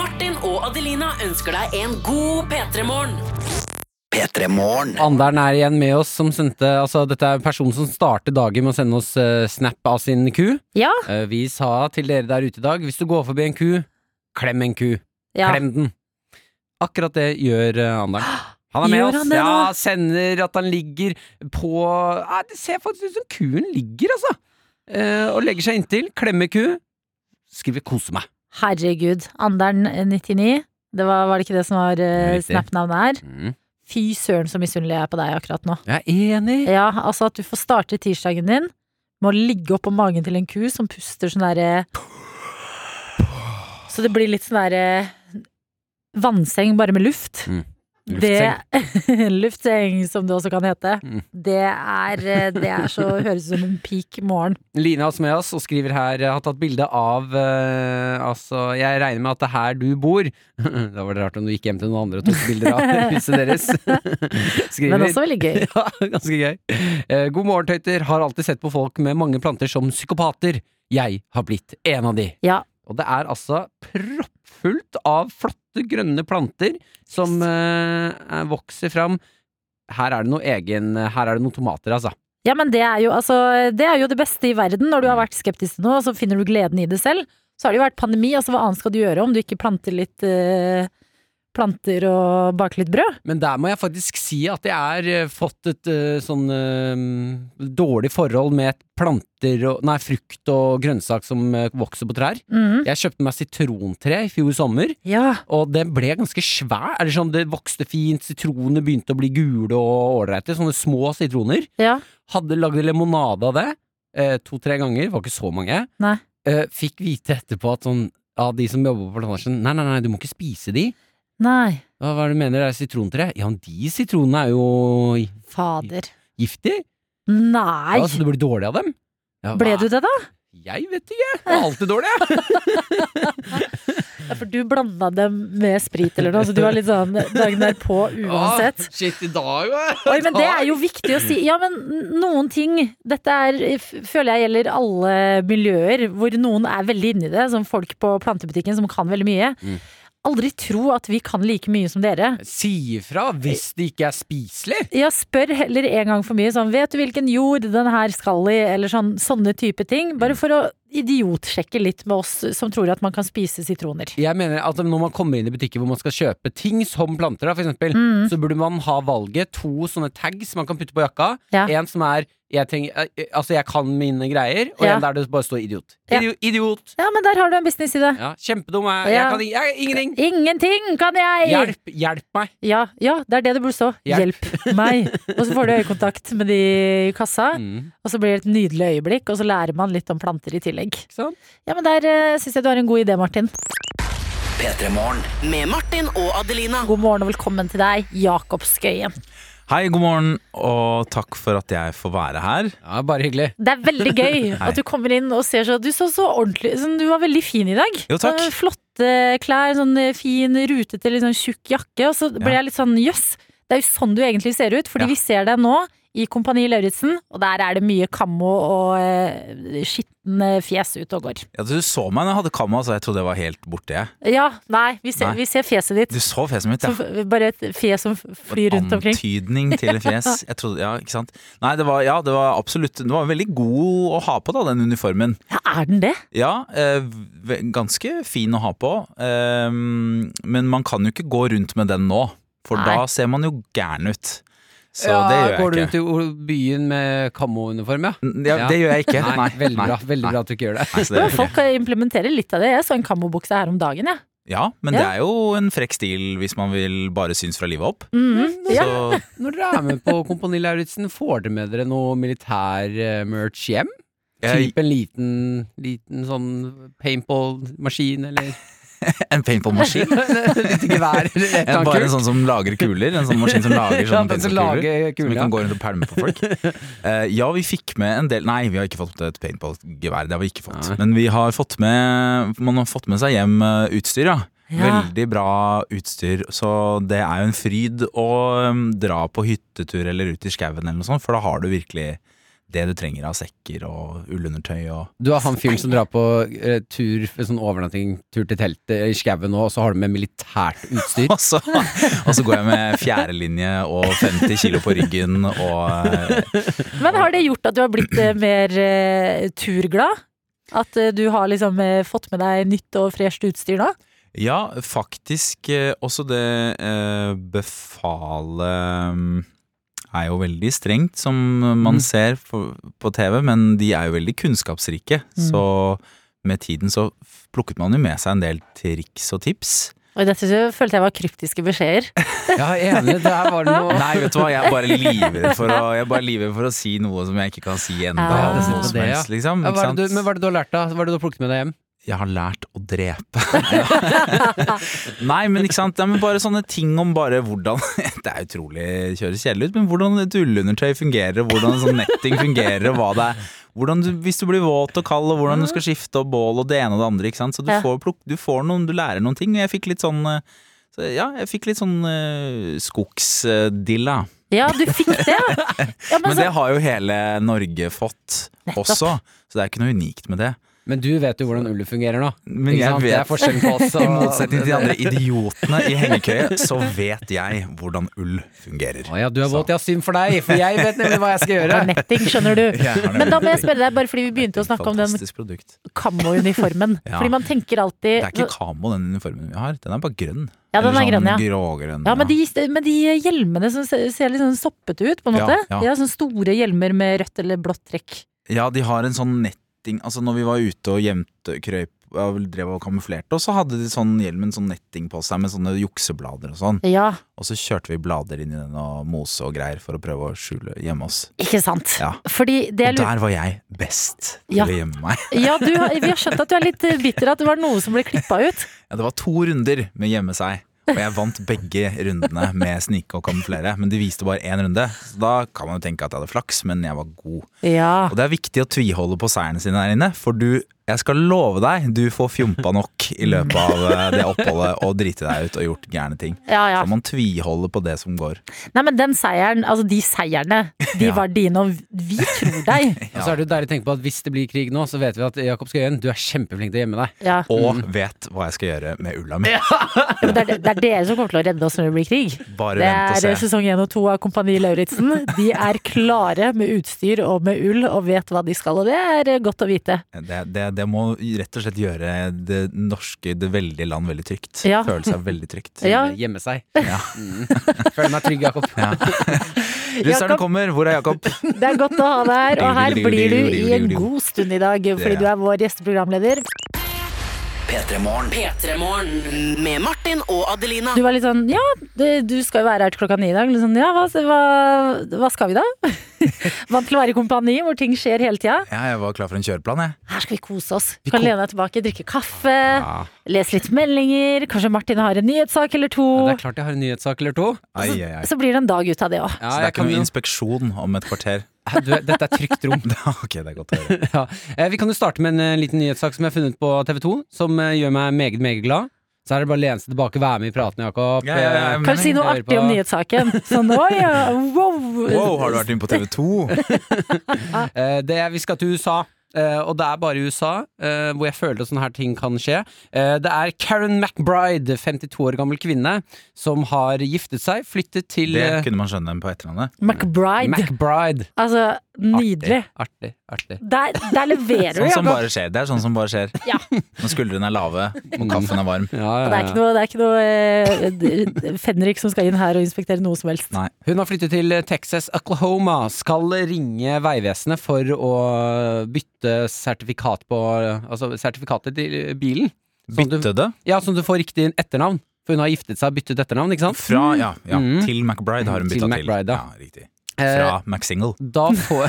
S4: Martin og Adelina ønsker deg en god P3-morgen.
S3: Andern er igjen med oss, som sendte Altså, dette er personen som starter dagen med å sende oss eh, snap av sin ku.
S2: Ja,
S3: Eh, vi sa til dere der ute i dag, hvis du går forbi en ku, klem en ku.
S2: ja.
S3: Klem den. Akkurat det gjør eh, Andern. Han er med
S2: Gjør
S3: oss.
S2: han det
S3: ja,
S2: nå?
S3: sender at han ligger på ja, Det ser faktisk ut som kuen ligger, altså. Eh, og legger seg inntil. Klemmer ku. Skriver 'kose meg'.
S2: Herregud. Andern eh, 99, det var, var det ikke det som var eh,
S3: Riktig.
S2: snap-navnet her?
S3: Mm.
S2: Fy søren så misunnelig jeg er på deg akkurat nå.
S3: Jeg er enig.
S2: Ja, altså at du får starte tirsdagen din med å ligge oppå magen til en ku som puster sånn derre Så det blir litt sånn derre vannseng bare med luft.
S3: Mm.
S2: Det, luftseng, som det også kan hete.
S3: Mm.
S2: Det, er, eh, det er så høres ut som en peak morgen.
S3: Line er også med oss og skriver her eh, har tatt bilde av eh, Altså, jeg regner med at det er her du bor. da var det rart om du gikk hjem til noen andre og tok bilder av huset deres. skriver.
S2: Men også veldig gøy.
S3: ja, ganske gøy. Eh, God morgen, tøyter. Har alltid sett på folk med mange planter som psykopater. Jeg har blitt en av de.
S2: Ja.
S3: Og det er altså proppfullt av flotte grønne planter som eh, er- vokser fram. Her er det noe egen Her er det noen tomater, altså.
S2: Ja, men det er, jo, altså, det er jo det beste i verden. Når du har vært skeptisk til noe, og så finner du gleden i det selv. Så har det jo vært pandemi, altså hva annet skal du gjøre om du ikke planter litt eh, planter og baker litt brød?
S3: Men der må jeg faktisk si at jeg har eh, fått et eh, sånn eh, dårlig forhold med et planter og Nei, frukt og grønnsak som eh, vokser på trær.
S2: Mhm.
S3: Jeg kjøpte meg sitrontre i fjor sommer,
S2: Ja.
S3: og det ble ganske svær. Eller sånn, det vokste fint, sitronene begynte å bli gule og ålreite. Sånne små sitroner.
S2: ja.
S3: Hadde lagd limonade av det eh, to-tre ganger, var ikke så mange.
S2: Nei.
S3: Eh, fikk vite etterpå at sånn av de som jobber på plantasjen Nei, nei, nei, du må ikke spise de.
S2: Nei.
S3: Hva, hva er det du mener det er sitrontre? Ja, men de sitronene er jo
S2: Fader.
S3: giftig.
S2: Nei.
S3: Ja, så du blir dårlig av dem? Ja,
S2: Ble
S3: hva?
S2: du det, da?
S3: Jeg vet ikke. Jeg er alltid dårlig, jeg.
S2: Ja, for du blanda dem med sprit eller noe, så du var litt sånn dagen derpå uansett.
S3: Å, shit, i dag, hva?
S2: Oi, men det er jo viktig å si. Ja, men noen ting Dette er, f- føler jeg gjelder alle miljøer, hvor noen er veldig inni det, som folk på plantebutikken som kan veldig mye.
S3: Mm.
S2: Aldri tro at vi kan like mye som dere.
S3: Si ifra hvis det ikke er spiselig.
S2: Ja, spør heller en gang for mye sånn Vet du hvilken jord den her skal i? Eller sånn, sånne type ting. Bare for å idiotsjekke litt med oss som tror at man kan spise sitroner.
S3: Jeg mener at når man kommer inn i butikker hvor man skal kjøpe ting som planter, da, for eksempel,
S2: Mm.
S3: så burde man ha valget to sånne tags man kan putte på jakka.
S2: Ja.
S3: En som er jeg trenger, eh, Altså, jeg kan mine greier, og
S2: Ja.
S3: en der det bare står idiot.
S2: Ja.
S3: Idio- Idiot!
S2: Ja, men der har du en businessidé.
S3: Ja, kjempedum. Jeg, jeg
S2: Ja.
S3: kan ing- jeg, ingenting.
S2: Ingenting kan jeg!
S3: Hjelp! Hjelp meg!
S2: Ja, ja, det er det det burde stå.
S3: Hjelp.
S2: Hjelp, meg! Og så får du øyekontakt med de i kassa,
S3: Mm,
S2: og så blir det et nydelig øyeblikk, og så lærer man litt om planter i tillegg.
S3: ikke sant?
S2: Ja, men der uh, syns jeg du har en god idé, Martin.
S4: Med Martin og Adelina.
S2: God morgen og velkommen til deg, Jakob Skøyen.
S7: Hei, god morgen, og takk for at jeg får være her.
S3: Ja, bare hyggelig.
S2: Det er veldig gøy at du kommer inn og ser så Du så så ordentlig sånn, Du var veldig fin i dag.
S7: Jo, takk.
S2: Sånn Flotte klær, sånn fin, rutete, litt sånn tjukk jakke. Og så ble
S7: Ja.
S2: jeg litt sånn jøss, det er jo sånn du egentlig ser ut. Fordi
S7: Ja.
S2: vi ser deg nå i Kompani Lauritzen, og der er det mye kammo og eh, skitne fjes ut og går.
S7: Ja, du så meg når jeg hadde kamma, så jeg trodde jeg var helt borte. jeg.
S2: Ja, nei, vi ser,
S7: Nei.
S2: Vi ser fjeset ditt.
S7: Du så fjeset mitt, ja.
S2: Som, f- bare et fjes som f- flyr rundt omkring.
S7: Antydning til et fjes. Jeg trodde, ja, ikke sant? Nei, det var, ja, det var absolutt Det var veldig god å ha på, da, den uniformen.
S2: Ja, er den det?
S7: Ja, eh, v- ganske fin å ha på, eh, men man kan jo ikke gå rundt med den nå, for
S2: Nei.
S7: da ser man jo gæren ut. Så
S3: ja,
S7: det gjør jeg
S3: går du
S7: ikke.
S3: rundt i o- byen med kammouniform, ja?
S7: N- Ja, det gjør jeg ikke. Nei,
S3: veldig
S7: nei,
S3: bra, veldig
S7: nei.
S3: bra at du ikke gjør det.
S7: Nei, så det
S2: Jo,
S7: gjør jeg ikke.
S2: folk eh, implementerer litt av det. Jeg så en kammobukse her om dagen, jeg.
S7: Ja, men det
S2: Ja.
S7: er jo en frekk stil hvis man vil bare synes fra livet opp.
S3: Mm,
S2: Mhm.
S7: Så
S2: Ja.
S3: Når dere er med på Kompani Lauritzen, får dere med dere noe militær-merch hjem?
S7: jeg,
S3: Typ en liten, liten sånn paintball-maskin, eller
S7: en paintballmaskin.
S3: Litt gevær eller et
S7: En,
S3: eller
S7: bare en
S3: annet kult.
S7: sånn som lager kuler. En sånn maskin som lager
S3: Ja,
S7: sånne
S3: den som
S7: paintballkuler.
S3: lager
S7: Som vi
S3: kula.
S7: kan gå rundt og pælme på folk. Eh, ja, vi fikk med en del Nei, vi har ikke fått et paintballgevær. Det har vi ikke fått.
S3: Nei.
S7: Men vi har fått med Man har fått med seg hjem eh, utstyr, ja.
S2: Ja.
S7: Veldig bra utstyr, så det er jo en fryd å um, dra på hyttetur eller ut i skauen eller noe sånt, for da har du virkelig det du trenger av sekker og ullundertøy og
S3: Du har han fyren som drar på eh, tur, sånn overnatting, tur til teltet i skauen nå, og så har du med militært utstyr.
S7: og så, og så går jeg med fjerdelinje og 50 kilo på ryggen og eh,
S2: Men har det gjort at du har blitt eh, mer eh, turglad? At eh, du har liksom eh, fått med deg nytt og fresht utstyr nå?
S7: Ja, faktisk eh, også det eh, befalet mm, er jo veldig strengt, som man
S3: Mm.
S7: ser på, på TV, men de er jo veldig kunnskapsrike.
S3: Mm.
S7: Så med tiden så f- plukket man jo med seg en del triks og tips.
S2: Og dette så følte jeg var kryptiske beskjeder.
S3: Ja, enig, der var det noe
S7: Nei, vet du hva, jeg er bare livredd for, å- jeg er bare livredd for å si noe som jeg ikke kan si ennå.
S2: Ah.
S7: eller noe som
S3: Det, ja.
S7: helst, liksom, ikke
S3: Ja, hva er det
S7: sant?
S3: du, men hva er det du har lært, da? Hva er det du har plukket med deg hjem?
S7: Jeg har lært å drepe. Nei, men ikke sant. Nei, men bare sånne ting om bare hvordan Det er utrolig kjøres kjedelig ut, men hvordan et ullundertøy fungerer, og hvordan sånn netting fungerer, og hva det er. Hvordan du, hvis du blir våt og kald, og hvordan du skal skifte og bål og det ene og det andre. ikke sant? Så du
S2: Ja.
S7: får, plukk, du får noen, du lærer noen ting. Og jeg fikk litt sånn eh, så, Ja, jeg fikk litt sånn eh, skogsdilla.
S2: Ja, du fikk det, ja! ja men
S7: Men
S2: så,
S7: det har jo hele Norge fått også, så det er ikke noe unikt med det.
S3: Men du vet jo hvordan ullet fungerer nå.
S7: Men
S3: ikke
S7: jeg
S3: sant?
S7: vet-
S3: Det er forskjellen på oss og
S7: I motsetning til de andre idiotene i hengekøye, så vet jeg hvordan ull fungerer.
S3: Å ja, du er våt, ja, synd for deg, for jeg vet nemlig hva jeg skal
S2: det
S3: gjøre.
S2: var netting, skjønner du. Men da må jeg spørre deg, bare fordi vi begynte å snakke om den
S7: Fantastisk produkt.
S2: Kammo-uniformen.
S7: Ja.
S2: Fordi man tenker
S7: Det
S2: alltid
S7: er ikke kamo, den uniformen vi har. Den er bare grønn.
S2: Ja, den er
S7: Eller
S2: grønn, ja.
S7: sånn Grågrønn.
S2: Ja, men de, men de hjelmene som ser, ser litt sånn soppete ut, på en
S7: Ja,
S2: måte.
S7: ja.
S2: De har sånne store hjelmer med rødt eller blått trekk.
S7: Ja, de har en sånn netting Altså, når vi var ute og gjemte krøyp ja, drev og kamuflerte, og så hadde de sånn hjelmen sånn netting på seg med sånne jukseblader og sånn.
S2: Ja,
S7: Og så kjørte vi blader inn i den og mose og greier for å prøve å skjule hjemme oss.
S2: ikke sant?
S7: Ja.
S2: Fordi det jeg
S7: Og
S2: lurer
S7: der var jeg best til
S2: Ja.
S7: å gjemme meg.
S2: Ja, du, har- vi har skjønt at du er litt eh, bitter at det var noe som ble klippa ut.
S7: Ja, det var to runder med gjemme seg. Og jeg vant begge rundene med snike og kamuflere, men de viste bare én runde. Så da kan man jo tenke at jeg hadde flaks, men jeg var god.
S2: Ja.
S7: Og det er viktig å tviholde på seierne sine her inne, for du, jeg skal love deg, du får fjompa nok i løpet av eh, det oppholdet og driti deg ut og gjort gærne ting.
S2: Ja, ja.
S7: Så man tviholder på det som går.
S2: Nei, men den seieren, altså de seierne, de
S7: Ja.
S2: var dine, og vi tror deg.
S3: Og så er det jo deilig å tenke på at hvis det blir krig nå, så vet vi at Jakob Skøyen, du er kjempeflink til å gjemme deg.
S2: Ja.
S7: Og vet hva jeg skal gjøre med ulla mi.
S2: Men Det, er, det er dere som kommer til å redde oss når det blir krig.
S7: Bare
S2: Det
S7: vent
S2: er eh,
S7: og se.
S2: sesong én og to av Kompani Lauritzen. De er klare med utstyr og med ull og vet hva de skal, og det er eh, godt å vite.
S7: Det, det, det må rett og slett gjøre det norske, det veldige land veldig trygt.
S2: Ja.
S7: Føle seg veldig trygt.
S2: Ja.
S3: Gjemme seg.
S7: Ja.
S3: Mm. Føler meg trygg, Jakob.
S7: Russerne
S2: Jakob.
S7: kommer, hvor er Jakob?
S2: Det er godt å ha deg her, og her blir du i en god stund i dag, fordi du er vår gjesteprogramleder.
S4: P3morgen med Martin og Adelina.
S2: Du var litt sånn Ja, det, du skal jo være her til klokka ni i dag. Litt sånn, ja, hva, hva, hva skal vi da? Vant til å være i kompani hvor ting skjer hele tida.
S7: Ja, jeg var klar for en kjøreplan, jeg.
S2: Her skal vi kose oss. Du kan lene deg tilbake, drikke kaffe, lese litt meldinger. Kanskje Martin har en nyhetssak eller to.
S3: Ja, det er klart jeg har en nyhetssak eller to.
S7: Ai, ai, ai.
S2: Så blir det en dag ut av det òg.
S7: Så
S3: Altså, Ja,
S7: det er
S3: jeg
S7: ikke
S3: kan
S7: noe
S3: jo-
S7: inspeksjon om et kvarter.
S3: du, dette er trygt rom.
S7: ok, det er godt å høre.
S3: Ja. Eh, Vi kan jo starte med en eh, liten nyhetssak som jeg har funnet på TV 2, som eh, gjør meg meget, meget glad. Så er det bare å lene seg tilbake, være med i praten, Jakob.
S7: Ja, ja, ja,
S3: Eh,
S7: men-
S2: Kan du si noe
S3: hører
S2: artig
S3: på-
S2: om nyhetssaken? Sånn oi, ja, wow.
S7: Wow, har du vært inne på TV 2?
S3: Eh, det, vi skal til USA. eh, og det er bare i USA eh, hvor jeg føler at sånne her ting kan skje. Eh, det er Karen McBride, 52 år gammel kvinne, som har giftet seg, flyttet til
S7: Det
S3: eh,
S7: kunne man skjønne på etternavnet.
S2: McBride.
S3: McBride.
S2: Altså, nydelig.
S3: Artig, artig.
S2: Der, der leverer du,
S7: Sånn som
S2: Jakob.
S7: bare skjer. Det er sånn som bare skjer.
S2: Ja.
S7: Når skuldrene er lave, og
S3: Mm.
S7: kaffen er varm.
S3: Ja, ja,
S2: Det er
S3: ja.
S2: ikke noe, det er ikke noe eh, d- Fenrik som skal inn her og inspektere noe som helst.
S7: Nei.
S3: Hun har flyttet til Texas, Oklahoma. Skal ringe Vegvesenet for å bytte sertifikat på Altså sertifikatet til bilen. Sånn at du-
S7: Bytte det
S3: Ja, sånn at du får riktig etternavn. For hun har giftet seg og byttet etternavn, ikke sant?
S7: fra ja, ja,
S3: Mm.
S7: til McBride har hun
S3: Til
S7: bytta til.
S3: McBride, Eh, da.
S7: Ja, riktig. Fra McSingle.
S3: Da får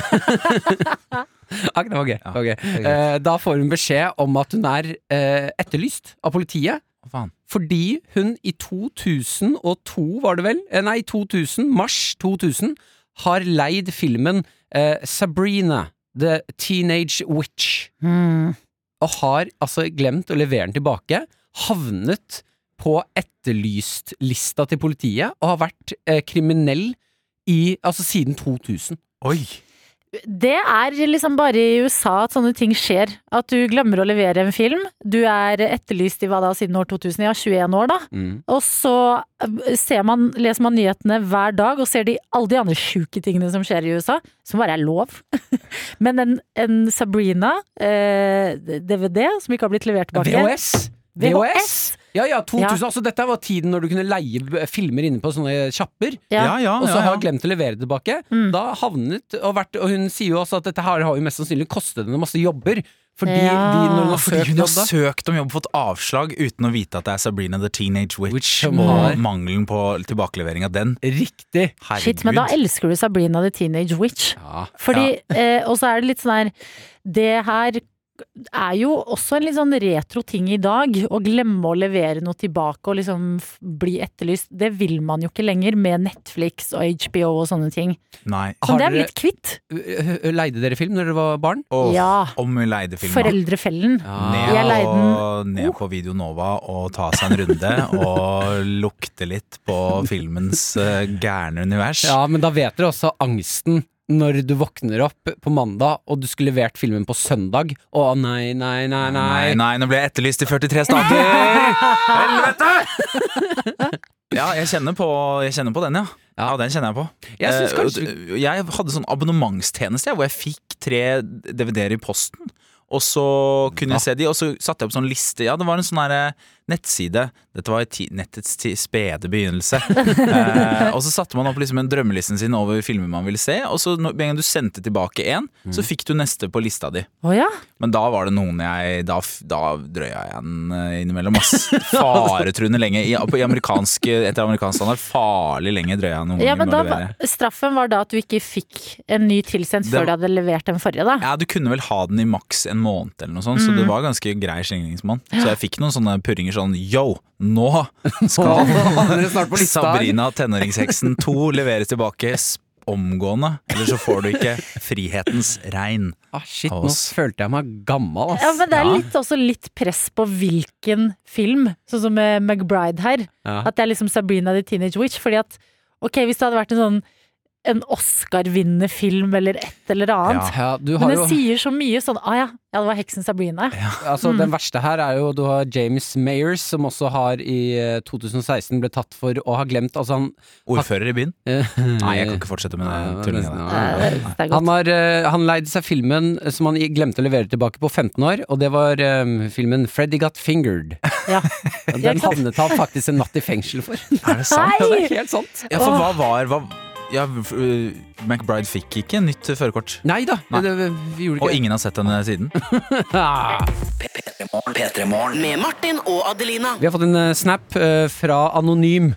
S3: Ok, det var gøy. det var gøy.
S7: det er greit.
S3: Eh, Da får hun beskjed om at hun er eh, etterlyst av politiet.
S7: Hva faen?
S3: Fordi hun i 2002, var det vel? Eh, Nei, 2000, mars 2000, har leid filmen eh, Sabrina, The Teenage Witch. Og har altså glemt å levere den tilbake. Havnet på etterlyst-lista til politiet, og har vært eh, kriminell i, altså siden 2000.
S7: Oi!
S2: Det er liksom bare i USA at sånne ting skjer. At du glemmer å levere en film. Du er etterlyst i hva da, siden år 2000? Ja, 21 år, da.
S7: Mm.
S2: Og så eh, ser man, leser man nyhetene hver dag og ser de, alle de andre sjuke tingene som skjer i USA, som bare er lov. Men en, en Sabrina eh, DVD som ikke har blitt levert tilbake
S3: VHS! VHS!
S2: VHS.
S3: Ja, ja, 2000,
S2: Ja.
S3: altså Dette var tiden når du kunne leie b- filmer inne på sånne kjapper.
S2: Ja. Mm.
S7: Ja, ja,
S3: og så
S7: ja,
S3: har
S7: ja.
S3: hun glemt å levere det tilbake. Da havnet og, vært, og hun sier jo også at dette her har jo mest sannsynlig kostet henne masse jobber. Fordi
S2: Ja.
S3: de, når hun har
S7: Fordi
S3: søkt
S7: hun har
S3: jobb, da
S7: søkt om jobb og fått avslag uten å vite at det er Sabrina the Teenage Witch,
S3: Witch som
S7: og
S3: har-
S7: mangelen på tilbakelevering av den.
S3: Riktig!
S7: Herregud.
S2: Shit, men da elsker du Sabrina the Teenage Witch.
S3: Ja.
S2: Fordi, eh, Og så er det litt sånn her Det her er jo også en litt sånn retro ting i dag. Å glemme å levere noe tilbake og liksom f- bli etterlyst. Det vil man jo ikke lenger med Netflix og HBO og sånne ting.
S7: Nei.
S2: Så
S3: Har
S2: det er vi
S3: dere-
S2: litt kvitt.
S3: Ø- ø- Leide dere film når dere var barn?
S7: Åh,
S2: Ja.
S7: Om hun leide filmen.
S2: Foreldrefellen.
S7: Ned,
S2: Jeg leide
S7: og, ned på Video Nova og ta seg en runde og lukte litt på filmens eh, gærne univers.
S3: Ja, men da vet dere også angsten når du våkner opp på mandag, og du skulle levert filmen på søndag. Å nei, nei, nei, nei.
S7: Nei, nei, nå ble jeg etterlyst i 43 stater! Helvete! Ja, jeg kjenner på, jeg kjenner på den, ja. ja. den kjenner jeg på.
S3: Jeg synes
S7: Eh,
S3: kanskje-
S7: og- jeg hadde sånn abonnementstjeneste jeg, hvor jeg fikk tre DVD-er i posten. Og så kunne
S3: Hva?
S7: jeg se de, og så satte jeg opp sånn liste. Ja, det var en sånn her eh, nettside. Dette var i ti- nettets ti- spede begynnelse. eh, og så satte man opp liksom en drømmelisten sin over filmer man ville se. Og så når- med en gang du sendte tilbake én,
S3: Mm.
S7: så fikk du neste på lista di.
S2: Å ja.
S7: Men da var det noen jeg Da, f- da drøya jeg den eh, innimellom. Ass. Faretruende lenge. I, på, i amerikansk, etter amerikansk standard, farlig lenge drøya jeg noen
S2: ja
S7: ganger
S2: men
S7: med
S2: da,
S7: å levere.
S2: straffen var da at du ikke fikk en ny tilsendt
S7: Det-
S2: før de hadde levert den forrige, da.
S7: Ja, Du kunne vel ha den i maks en måned, eller noe sånt, så
S2: Mm.
S7: det var ganske grei slingringsmonn. Så jeg fikk noen sånne purringer sånn Yo, nå skal
S3: Dere er snart på lista her.
S7: Sabrina tenåringsheksen 2 leveres tilbake s- omgående. Eller så får du ikke frihetens regn.
S3: Ah, shit,
S7: Av
S3: nå
S7: oss.
S3: følte jeg meg gammel, ass.
S2: Ja, men det er litt, også litt press på hvilken film, sånn som med McBride her.
S3: Ja.
S2: At det er liksom Sabrina the Teenage Witch. Fordi at, ok, hvis det hadde vært en sånn en Oscar-vinnende film eller et eller annet.
S3: Ja, du har
S2: Men det
S3: jo
S2: sier så mye sånn ah ja, ja, det var heksen Sabrina.
S3: Altså,
S2: Mm.
S3: Den verste her er jo du har James Mayers, som også har i eh, 2016 ble tatt for å ha glemt Altså, han
S7: Ordfører i byen? Nei,
S3: Nei,
S7: jeg kan ikke fortsette med den
S3: det var
S7: tullinga
S3: nesten-
S7: der.
S3: ja, ja.
S2: Eh, det er
S3: Han,
S2: godt.
S3: har, eh, han leide seg filmen som han glemte å levere tilbake på 15 år, og det var eh, filmen 'Freddy Got Fingered'.
S2: Ja.
S3: Den
S2: ikke sant?
S3: havnet han faktisk en natt i fengsel for.
S7: Er det sant?
S3: Ja, det er helt sant.
S7: Ja, for hva var hva, ja, f- øh, McBride fikk ikke nytt førerkort.
S3: Nei da,
S7: Nei.
S3: Det, vi gjorde
S7: Og
S3: ikke det.
S7: ingen har sett henne siden.
S3: Ah.
S4: Med Martin og Adelina.
S3: Vi har fått en eh, snap eh, fra Anonym.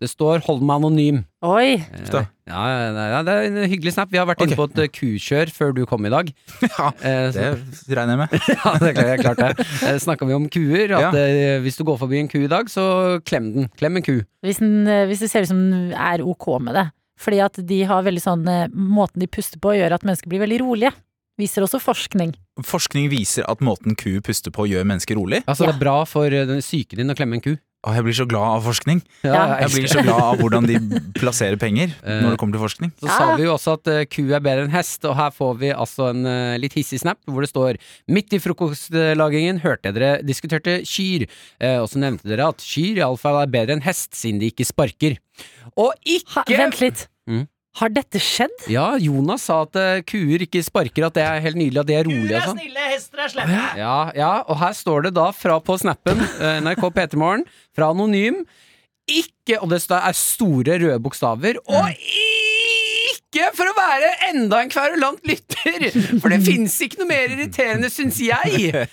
S3: Det står 'hold meg anonym'.
S2: Oi.
S7: da.
S3: Ja, ja, ja, ja, det er en hyggelig snap. Vi har vært inne
S7: Ok.
S3: på et eh, kukjør før du kom i dag.
S7: Ja,
S3: Eh,
S7: Det
S3: så-
S7: regner jeg med.
S3: ja, det er klart, det er klart det. Eh, Snakka vi om kuer.
S7: Ja.
S3: At eh, hvis du går forbi en ku i dag, så klem den. Klem en ku.
S2: Hvis, den, eh, hvis det ser ut som den er ok med det. Fordi at de har veldig sånn eh, Måten de puster på gjør at mennesker blir veldig rolige. Viser også forskning.
S7: Forskning viser at måten ku puster på gjør mennesker rolig.
S3: Altså,
S2: Ja.
S3: det er bra for eh, den syke din å klemme en ku.
S7: Og jeg blir så glad av forskning.
S2: Ja.
S7: Jeg blir så glad av hvordan de plasserer penger når det kommer til forskning.
S3: Så
S5: Ah.
S3: sa vi jo også at eh, ku er bedre enn hest, og her får vi altså en eh, litt hissig snap hvor det står midt i frokostlagingen hørte jeg dere diskuterte kyr, eh, og så nevnte dere at kyr iallfall er bedre enn hest siden de ikke sparker. Og
S2: Ha,
S3: ikke
S2: vent litt.
S3: Mm.
S2: Har dette skjedd?
S3: Ja, Jonas sa at eh, kuer ikke sparker, at det er helt nydelig, at de er rolige og sånn.
S5: snille, hester er slemme.
S3: Ja, ja, og her står det da fra på snappen eh, NRK P3morgen fra Anonym Ikke, og det sta- er store røde bokstaver, og ikke for å være enda en kverulant lytter, for det finnes ikke noe mer irriterende, syns jeg.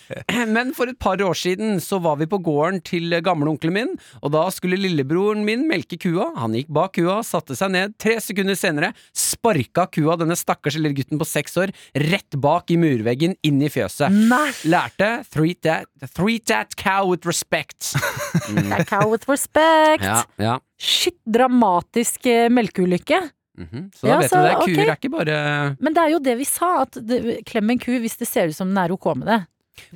S3: Men for et par år siden så var vi på gården til gamleonkelen min, og da skulle lillebroren min melke kua. Han gikk bak kua, satte seg ned. Tre sekunder senere sparka kua denne stakkars lille gutten på seks år rett bak i murveggen, inn i fjøset.
S2: Nei.
S3: Lærte treat that, treat that cow with respect. Mm.
S2: Det er cow with respect.
S3: Ja, ja.
S2: Shit, dramatisk eh, melkeulykke.
S3: Mhm. Så da
S2: Ja,
S3: vet
S2: så,
S3: du det. Kuer
S2: ok.
S3: er ikke bare
S2: Men det er jo det vi sa, at det, klem en ku hvis det ser ut som den er ok med det.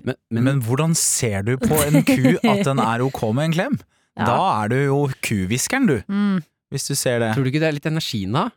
S3: Men, men,
S7: Men, hvordan ser du på en ku at den er ok med en klem?
S2: Ja.
S7: Da er du jo kuhviskeren, du.
S2: Mm.
S7: Hvis du ser det.
S3: tror du ikke det er litt energien da?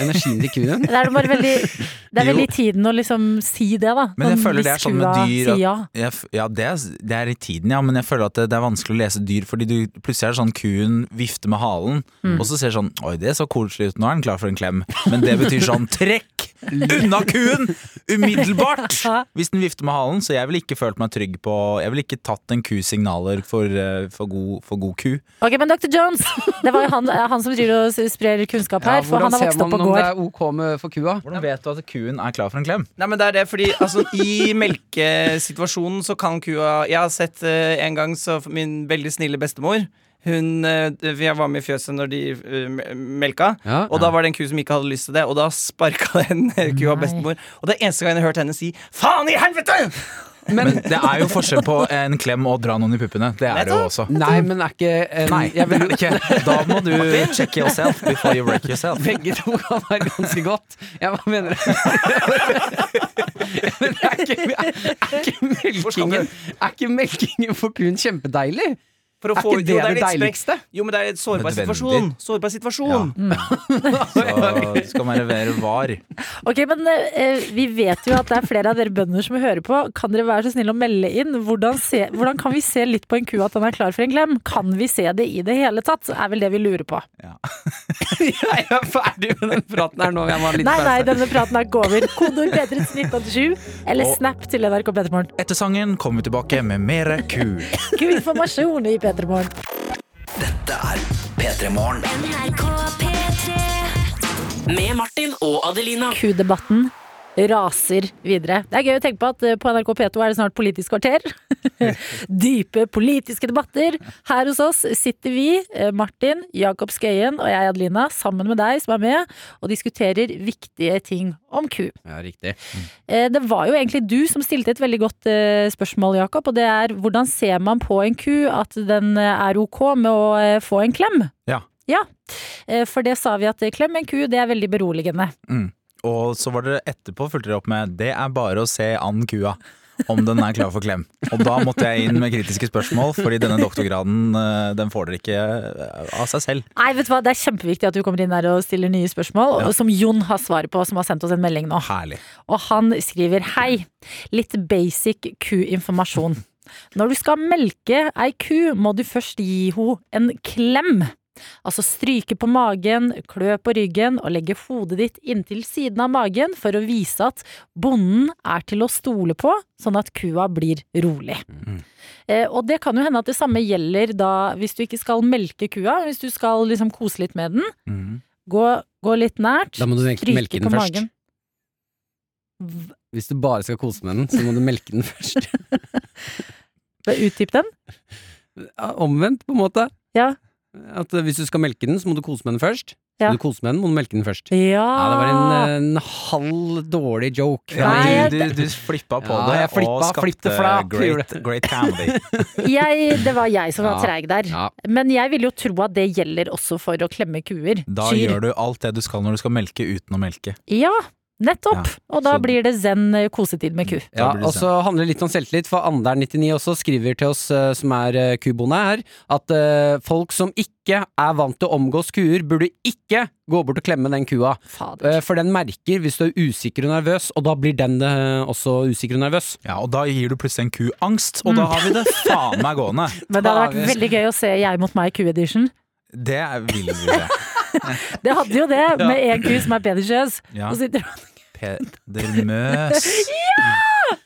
S3: Energien til kuen?
S2: Det er bare veldig, det er veldig i tiden å liksom si det, da.
S7: Men jeg
S2: Sånn,
S7: føler det er
S2: hvis
S7: sånn med
S2: kua
S7: dyr at-
S2: sier ja.
S7: Jeg, f- ja, det er, s- det er i tiden, ja, men jeg føler at det, det er vanskelig å lese dyr, fordi du plutselig er det sånn kuen vifter med halen,
S2: Mm.
S7: og så ser du sånn Oi, det så koselig ut, nå er den klar for en klem. Men det betyr sånn Trekk unna kuen! Umiddelbart! Hvis den vifter med halen, så jeg ville ikke følt meg trygg på Jeg ville ikke tatt en kus signaler for, eh, for, god, for god ku.
S2: Ok, men Dr. Jones! Det var jo han, han som driver og sprer kunnskap her, for han har vokst opp på
S3: om det
S2: gård.
S3: er ok med for kua?
S7: Hvordan vet du at kuen er klar for en klem?
S5: Nei, men det er det, fordi altså, I melkesituasjonen så kan kua Jeg har sett eh, en gang så min veldig snille bestemor hun, eh, Jeg var med i fjøset når de eh, me- melka,
S3: Ja.
S5: og da var det en ku som ikke hadde lyst til det. Og da sparka den eh, kua bestemor. Og det er eneste gang jeg har hørt henne si 'faen i helvete'!
S7: Men det er jo forskjell på en klem og å dra noen i puppene. Det er det jo også.
S3: Nei, men er ikke en,
S7: Nei,
S3: jeg vil,
S7: Da må du check yourself before you wreck yourself.
S3: Begge to kan være ganske godt. Jeg bare mener Men er ikke, er ikke melkingen Er ikke melkingen for kuen kjempedeilig?
S5: For å
S3: Er
S5: få
S3: ikke
S5: ut
S3: det
S5: jo,
S3: det
S5: litt
S3: deiligste?
S5: sprekk. Jo, men det er en sårbar
S7: Nødvendig.
S5: situasjon. Sårbar situasjon. Mm.
S7: Så du skal være være var.
S2: Ok, men eh, Vi vet jo at det er flere av dere bønder som hører på. Kan dere være så snill å melde inn? Hvordan, se, hvordan kan vi se litt på en ku at den er klar for en klem? Kan vi se det i det hele tatt? Er vel det vi lurer på.
S3: Jeg er ferdig med den praten her nå. Jeg må ha litt
S2: Nei, nei,
S3: pause.
S2: denne praten er ikke over. Kodeord bedre til 1987 eller
S7: Og-
S2: snap til NRK P3morgen.
S7: Etter sangen kommer vi tilbake med mere ku.
S2: Q-informasjon i P3morgen.
S4: NRK P3 Med Martin og Adelina
S2: Q-debatten raser videre. Det er gøy å tenke på at eh, på NRK P2 er det snart Politisk kvarter. Dype politiske debatter. Her hos oss sitter vi, eh, Martin, Jakob Skøyen og jeg, Adelina, sammen med deg som er med, og diskuterer viktige ting om ku.
S3: Ja, riktig.
S2: Eh, Det var jo egentlig du som stilte et veldig godt eh, spørsmål, Jakob, og det er hvordan ser man på en ku at den eh, er ok med å eh, få en klem?
S7: Ja.
S2: Eh, For det sa vi at eh, klem en ku, det er veldig beroligende.
S7: Og så var dere etterpå fulgte dere opp med 'det er bare å se an kua'. Om den er klar for klem. Og da måtte jeg inn med kritiske spørsmål, fordi denne doktorgraden eh, den får dere ikke eh, av seg selv.
S2: Nei, vet du hva, det er kjempeviktig at du kommer inn der og stiller nye spørsmål, og-
S7: Ja.
S2: som Jon har svaret på, som har sendt oss en melding nå.
S7: Herlig.
S2: Og han skriver hei, litt basic ku-informasjon. Når du skal melke ei ku, må du først gi henne en klem. Altså stryke på magen, klø på ryggen og legge hodet ditt inntil siden av magen for å vise at bonden er til å stole på, sånn at kua blir rolig.
S3: Mm.
S2: Eh, og det kan jo hende at det samme gjelder da hvis du ikke skal melke kua, hvis du skal liksom kose litt med den.
S7: Mm.
S2: Gå, gå litt nært.
S3: Da må du egentlig
S2: stryke
S3: melke den
S2: på
S3: først.
S2: magen.
S3: Hvis du bare skal kose med den, så må du melke den først.
S2: Utdyp den.
S3: Ja, Omvendt, på en måte.
S2: Ja.
S3: At eh, hvis du skal melke den, så må du kose med den først.
S2: Ja.
S3: Skal du kose med den, må du melke den først.
S2: Ja.
S3: Ja, det var en, eh, en halv dårlig joke.
S7: Ja,
S2: Nei,
S7: men
S2: jeg-
S7: du, du flippa på
S3: Ja,
S7: det
S3: jeg flippa,
S7: og skapte
S3: flippte flap,
S7: great,
S3: gjorde jeg.
S7: great comedy.
S2: jeg, det var jeg som var
S3: Ja.
S2: treig der.
S3: Ja.
S2: Men jeg vil jo tro at det gjelder også for å klemme kuer.
S7: Da gjør du alt det du skal når du skal melke uten å melke.
S2: Ja, nettopp. og da
S7: så-
S2: blir det zen eh, kosetid med ku.
S3: Ja,
S7: Da blir det
S3: og så handler det litt om selvtillit, for Andern99 også skriver til oss eh, som er eh, kubonde her, at eh, folk som ikke er vant til å omgås kuer, burde ikke gå bort og klemme den kua.
S2: Fader.
S3: Eh, For den merker hvis du er usikker og nervøs, og da blir den eh, også usikker og nervøs.
S7: Ja, og da gir du plutselig en ku angst, og da
S3: Mm.
S7: har vi det faen meg gående.
S2: Men det hadde vært
S3: fader.
S2: veldig gøy å se Jeg mot meg ku-edition.
S7: Det er- vil vi det.
S2: Det hadde jo det, med en ku som er bedre sjøs.
S7: Ja.
S2: Og sitter-
S7: Peder Møs.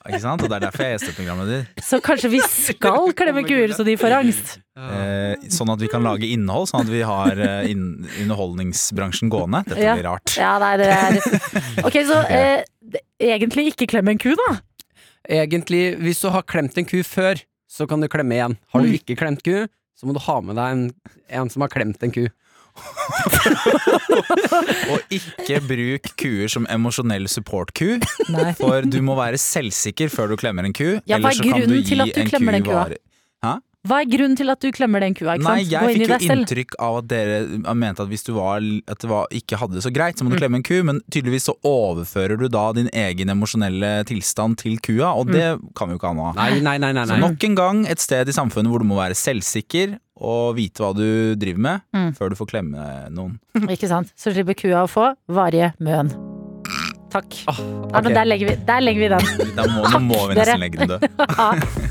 S7: Ikke sant? Og det er derfor jeg er gjesteprogrammet ditt.
S2: Så kanskje vi skal klemme kuer så de får angst?
S7: Eh, sånn at vi kan lage innhold, sånn at vi har eh, inn, underholdningsbransjen gående. Dette
S2: Ja.
S7: blir rart.
S2: Ja, nei, det er Ok, så eh, det- egentlig ikke klem en ku, da.
S3: Egentlig, hvis du har klemt en ku før, så kan du klemme igjen. Har du ikke klemt ku, så må du ha med deg en, en som har klemt en ku.
S7: Og ikke bruk kuer som emosjonell support-ku,
S2: Nei.
S7: for du må være selvsikker før du klemmer en ku.
S2: Ja, hva er
S7: ellers så kan
S2: grunnen til at
S7: gi
S2: du
S7: en
S2: klemmer
S7: ku
S2: den kua?
S7: varig-
S2: Hva er grunnen til at du klemmer den kua? Ikke
S7: Nei,
S2: sant? Gå
S7: jeg
S2: inn i
S7: fikk
S2: deg
S7: jo
S2: selv.
S7: inntrykk av at dere eh, mente at hvis du var, at det var, ikke hadde det så greit, så
S2: Mm.
S7: må du klemme en ku, men tydeligvis så overfører du da din egen emosjonelle tilstand til kua,
S2: Mm.
S7: og det kan vi jo ikke ha noe av.
S3: Nei, nei, nei, nei.
S7: Så
S3: nei.
S7: nok en gang et sted i samfunnet hvor du må være selvsikker og vite hva du driver med,
S2: Mm.
S7: før du får klemme noen.
S2: Ikke sant? Så slipper kua å få varige møen. Takk. Ja, men
S3: ok.
S2: der legger vi, der legger vi den.
S7: Da må, nå må vi
S2: dere.
S7: nesten legge den død.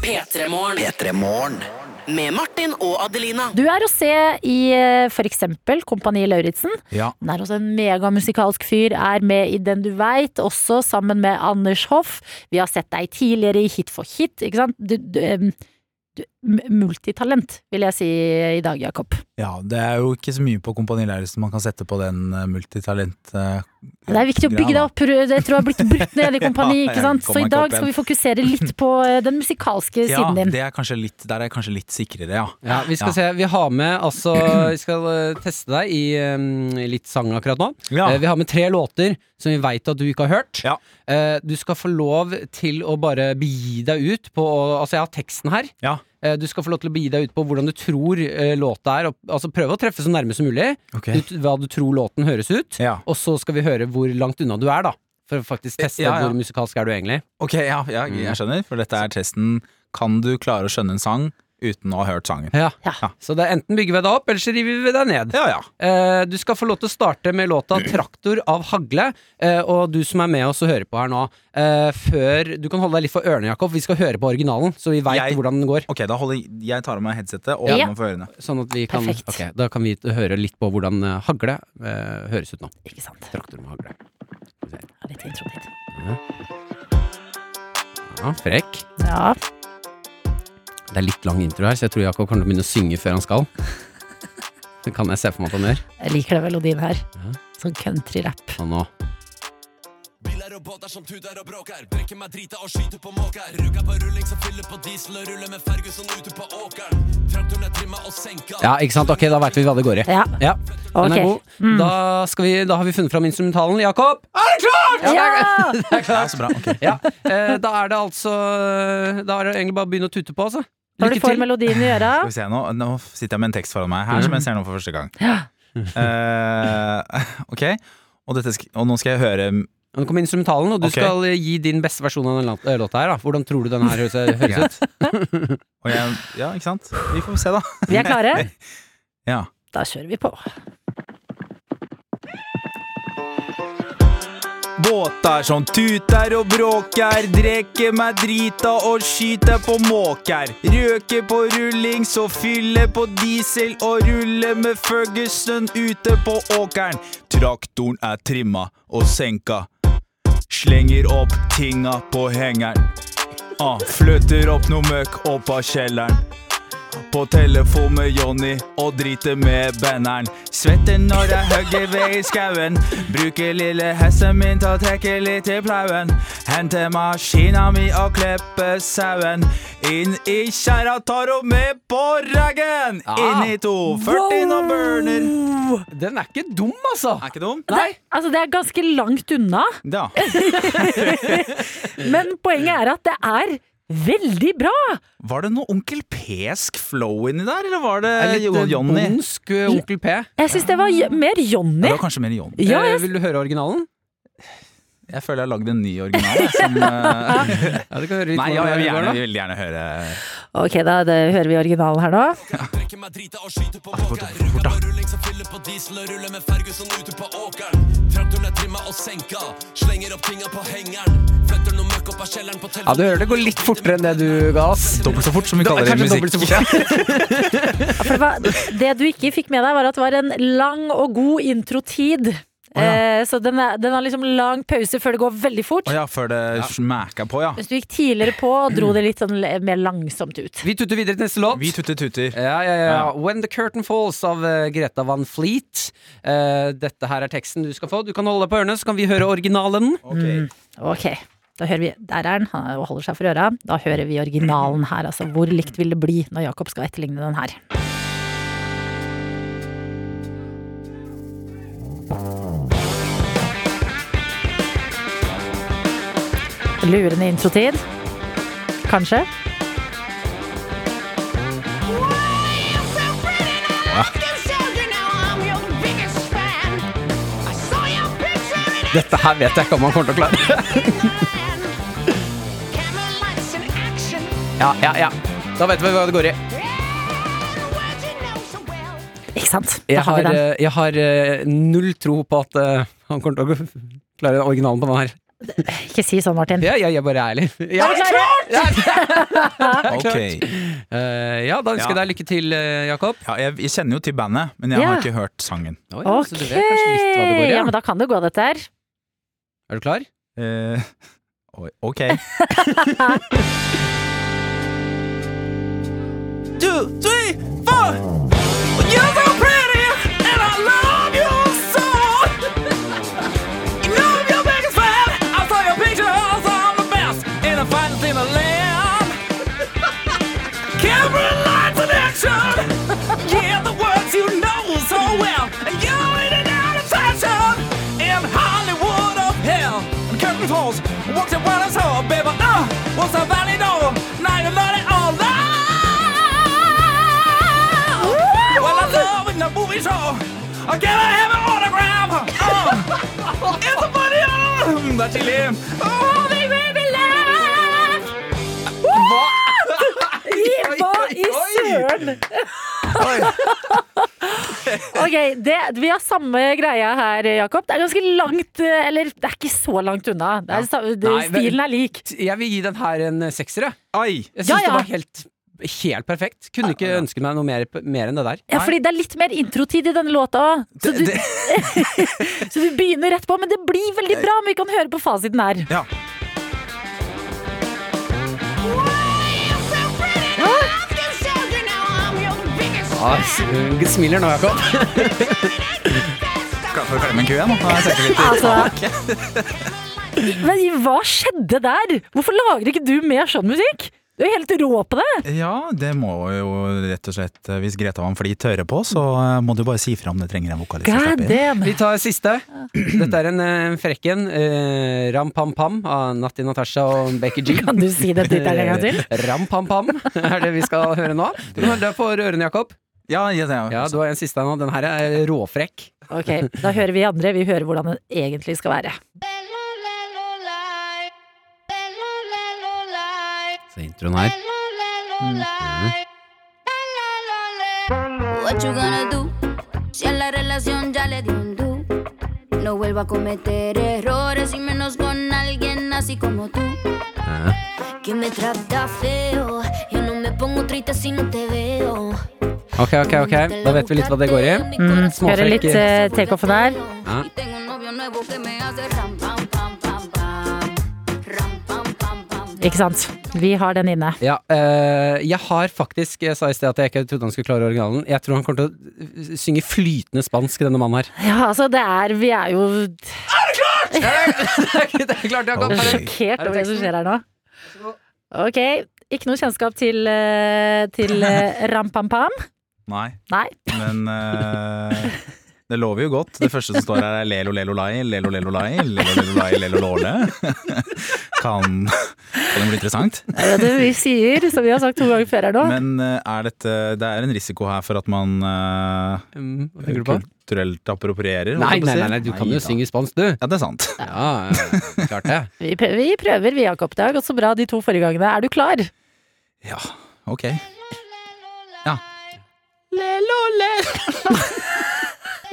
S4: P3 Morgen. Med Martin og Adelina.
S2: Du er å se i eh, for eksempel Kompani Lauritzen.
S7: Ja.
S2: Han er også en megamusikalsk fyr, er med i Den du veit, også sammen med Anders Hoff. Vi har sett deg tidligere i Hit for hit, ikke sant? Du, du, em, du, m- multitalent, vil jeg si i dag, Jakob.
S7: ja, det er jo ikke så mye på Kompani Lauritzen man kan sette på den eh, multitalent... eh,
S2: Det er viktig å bygge det
S7: greia, da.
S2: opp. Jeg tror jeg har blitt brutt ned i kompani.
S7: Ja,
S2: ikke sant?
S7: kom
S2: Så i
S7: meg
S2: dag
S7: opp
S2: skal
S7: igjen.
S2: vi fokusere litt på eh, den musikalske
S7: Ja,
S2: siden din.
S7: det er kanskje litt, der er jeg kanskje litt sikrere, ja.
S3: Ja, vi skal
S7: Ja.
S3: se. Vi har med altså Vi skal eh, teste deg i eh, i litt sang akkurat nå.
S7: Ja.
S3: Eh, vi har med tre låter som vi veit at du ikke har hørt.
S7: Ja.
S3: Eh, du skal få lov til å bare begi deg ut på Altså, jeg har teksten her.
S7: Ja.
S3: Eh, du skal få lov til å begi deg ut på hvordan du tror eh, låta er. Og, altså prøve å treffe så nærme som mulig.
S7: Ok.
S3: Ut, hva du tror låten høres ut.
S7: Ja.
S3: Og så skal vi høre hvor langt unna du er, da. For å faktisk teste
S7: Ja, ja.
S3: hvor musikalsk er du egentlig.
S7: Ok, ja, ja, jeg skjønner, for dette er testen Kan du klare å skjønne en sang uten å ha hørt sangen?
S3: Ja.
S2: Ja.
S3: Så det er enten bygger vi deg opp, eller så river vi deg ned.
S7: Ja, ja.
S3: Eh, du skal få lov til å starte med låta 'Traktor' av Hagle. eh, og du som er med oss og hører på her nå, eh, før Du kan holde deg litt for ørene, Jakob. Vi skal høre på originalen, så vi veit
S7: Jeg-
S3: hvordan den går.
S7: Ok, da holder jeg, jeg tar av meg headsetet og
S2: Ja.
S7: holder meg for ørene.
S3: Sånn at vi kan
S2: Perfekt.
S3: Ok, Da kan vi høre litt på hvordan eh, Hagle eh, høres ut nå.
S2: Ikke sant?
S3: Traktor med hagle.
S2: Ja, litt intro dit.
S3: Ja, frekk.
S2: Ja.
S3: Det er litt lang intro her, så jeg tror Jakob kommer til å begynne å synge før han skal. Det kan jeg se for meg at han gjør.
S2: Jeg liker den melodien her. Sånn country-rap.
S3: Og nå
S8: Biler og båter som tuter og bråker. Brekker meg drita og skyter på måker. Ruger på rulling som fyller på diesel og ruller med Ferguson ute på åkeren. Traktoren er trimma og senka.
S3: Ja, ikke sant? Ok, da veit vi hva det går i.
S2: Ja.
S3: Ja,
S2: Ok.
S3: den er god. Da, skal vi, da har vi funnet fram instrumentalen. Jakob! Er det klart?!
S2: Ja!
S7: Ja, så bra. ok.
S3: Ja, eh, da er det altså Da er det egentlig bare å begynne å tute på, altså.
S2: Når du får melodien i øra.
S7: Skal vi se nå. nå sitter jeg med en tekst foran meg her som jeg ser nå for første gang. Eh, ok, og, dette, sk- og nå skal jeg høre
S3: Nå kommer instrumentalen, og du
S7: Ok.
S3: skal eh, gi din beste versjon av den la- eh, låta her. Da. Hvordan tror du den her høres, høres ut?
S7: og jeg, Ja, ikke sant? Vi får se, da.
S2: Vi er klare?
S7: Ja.
S2: Da kjører vi på.
S7: Båter som tuter og bråker, dreker meg drita og skyter på måker. Røker på rulling, så fyller på diesel og ruller med Ferguson ute på åkeren. Traktoren er trimma og senka, slenger opp tinga på hengeren. Ah, fløter opp noe møkk opp av kjelleren. På telefon med Johnny og driter med banneren. Svetter når jeg hugger ved i skauen. Bruker lille hesten min til å trekke litt i plauen. Henter maskina mi og klipper sauen. Inn i kjerra tar hun med på raggen. Inn i 240 nå burner.
S3: Den er ikke dum, altså!
S7: Er ikke dum?
S3: Nei!
S2: Altså, det er ganske langt unna,
S7: Da.
S2: men poenget er at det er veldig bra!
S7: Var det noe Onkel P-sk flow inni der, eller var det
S3: Det er litt eh,
S7: Johnny?
S3: bondsk eh, Onkel P.
S2: Jeg syns det var j- mer
S7: Ja,
S2: Johnny.
S7: det var kanskje mer Johnny.
S2: Ja,
S3: Eh,
S2: jeg
S3: vil du høre originalen?
S7: Jeg føler jeg har lagd en ny original. jeg, Som, eh,
S3: Ja, du kan høre litt
S7: nei, ja, jeg
S3: hvordan
S7: vil
S3: det går,
S7: gjerne,
S3: da.
S7: jeg vil gjerne høre
S2: Ok, da det, hører vi originalen her nå.
S8: Brekker meg drita og skyter på måker. Ruger på rulling som fyller på diesel og ruller med Ferguson ute på åkeren. Traktoren er trimma og senka. Slenger opp tinga på hengeren. Flytter noe møkk opp av kjelleren på
S3: Ja, du hører det går litt fortere enn det du ga oss.
S7: Dobbelt så fort som vi
S3: Det er
S7: kaller det i
S3: kanskje dobbelt så
S7: musikk.
S2: Ja, for det, var, det du ikke fikk med deg, var at det var en lang og god introtid. Eh, så den, er, den har liksom lang pause før det går veldig fort.
S7: Å ja, før det smæka på, ja.
S2: Hvis du gikk tidligere på og dro det litt sånn le- mer langsomt ut.
S3: Vi tutter videre til neste låt.
S7: Vi tutter-tutter.
S3: Ja, ja, ja.
S7: Ja.
S3: When the curtain falls av eh, Greta Van Fleet. Eh, dette her er teksten du skal få. Du kan holde deg på ørene, så kan vi høre originalen.
S2: Ok, da hører vi Der er den, han holder seg for øra. Da hører vi originalen her, altså. Hvor likt vil det bli når Jakob skal etterligne den her? Lurende introtid. Kanskje.
S3: Dette her vet jeg ikke om han kommer til å klare. ja, ja, ja. Da vet vi hva det går i.
S2: Ikke sant? Da
S3: Jeg
S2: har vi
S3: har,
S2: den.
S3: eh, jeg har eh, null tro på at eh, han kommer til å gå- klare originalen på den her.
S2: Ikke si sånn, Martin.
S3: Ja, ja, eh, jeg bare er ærlig. Ja,
S2: Er vi klare?
S7: Ok.
S3: Eh, ja da ønsker jeg
S7: Ja.
S3: deg lykke til, eh, Jakob.
S7: Ja, jeg, jeg kjenner jo til bandet, men jeg
S2: Ja.
S7: har ikke hørt sangen.
S3: Oi,
S2: Ok,
S3: så du vet kanskje litt hva det går i,
S2: ja,
S3: ja.
S2: men da kan det gå, dette her.
S3: Er du klar?
S7: Eh, oi, ok.
S9: Uh, um,
S3: uh,
S9: Oh,
S2: Hva i søren? ok, det, vi har samme greia her, Jakob. Det er ganske langt eh, Eller det er ikke så langt unna. Det er, sa- det,
S3: Nei, men-
S2: stilen er lik.
S3: Jeg vil gi den her en eh, sekser, jeg.
S7: Ai!
S3: Jeg syns
S2: Ja, ja.
S3: det var helt, helt perfekt. Kunne ikke ønske meg noe mer, mer enn det der.
S2: Ja, fordi det er litt mer introtid i denne låta òg. Så, du- så du begynner rett på, men det blir veldig bra om vi kan høre på fasiten her.
S7: Ja.
S3: Ja, s- smiler nå, Jakob.
S7: Klar for å klemme en ku igjen? nå? Nei, jeg tenkte litt.
S2: Altså. Men hva skjedde der? Hvorfor lager ikke du mer sånn musikk? Du er jo helt rå på det.
S7: Ja, det må jo rett og slett eh, Hvis Greta Van Flit hører på, så eh, må du bare si fra om du trenger en vokalist. å
S2: God
S7: slappe inn.
S2: damn.
S3: Vi tar siste. Dette er en eh, frekk en. Eh, Ram Pam Pam av Natti Natasha og Becky G. Eh,
S2: Kan du si det tittelen en gang til?
S3: Ram Pam Pam er det vi skal høre nå. Du har deg for ørene, Jakob.
S7: Ja, altså, ja, ja.
S3: Ja, du har en siste nå. Den her er råfrekk.
S2: Ok, da hører vi andre. Vi hører hvordan den egentlig skal være.
S3: Så introen her.
S10: What you gonna do? Si en la relación ya le di un do. No vuelva a cometer errores y menos con alguien así como tú. Que me trata feo. Yo no me pongo triste si no te veo.
S3: Ok, ok, ok. Da vet vi litt hva det går i.
S10: Mm,
S3: småfrekk.
S2: hører litt eh, takeoffen der.
S3: Ja.
S2: Ikke sant. Vi har den inne.
S3: Ja, eh, jeg har faktisk Jeg sa i sted at jeg ikke trodde han skulle klare originalen. Jeg tror han kommer til å eh, synge flytende spansk, denne mannen her.
S2: Ja, altså, det er Vi er jo
S3: det er klart, Jakob.
S7: Oi.
S2: sjokkert over det som skjer her nå. Ok. Ikke noe kjennskap til, eh, til eh, Rampampam?
S7: Nei,
S2: Nei.
S7: men eh, det lover jo godt. Det første som står her, er lelo lelo lai, lelo lelo lai, lelo lelo lai, lelo låle. Kan, kan det bli interessant?
S2: Det er det vi sier, som vi har sagt to ganger før her nå.
S7: Men eh, er dette Det er en risiko her for at man eh,
S3: Mm, Hva tenker du på?
S7: kulturelt approprierer? holdt
S3: Nei,
S7: jeg på å
S3: nei,
S7: si.
S3: nei, nei, du kan
S7: Nei
S3: jo
S7: da.
S3: synge spansk, du.
S7: Ja, det er sant.
S3: Ja, ja, klart det.
S2: Vi prøver, vi, prøver, vi Jakob. Det har gått så bra de to forrige gangene. Er du klar?
S7: Ja, ok.
S1: Lelo, le...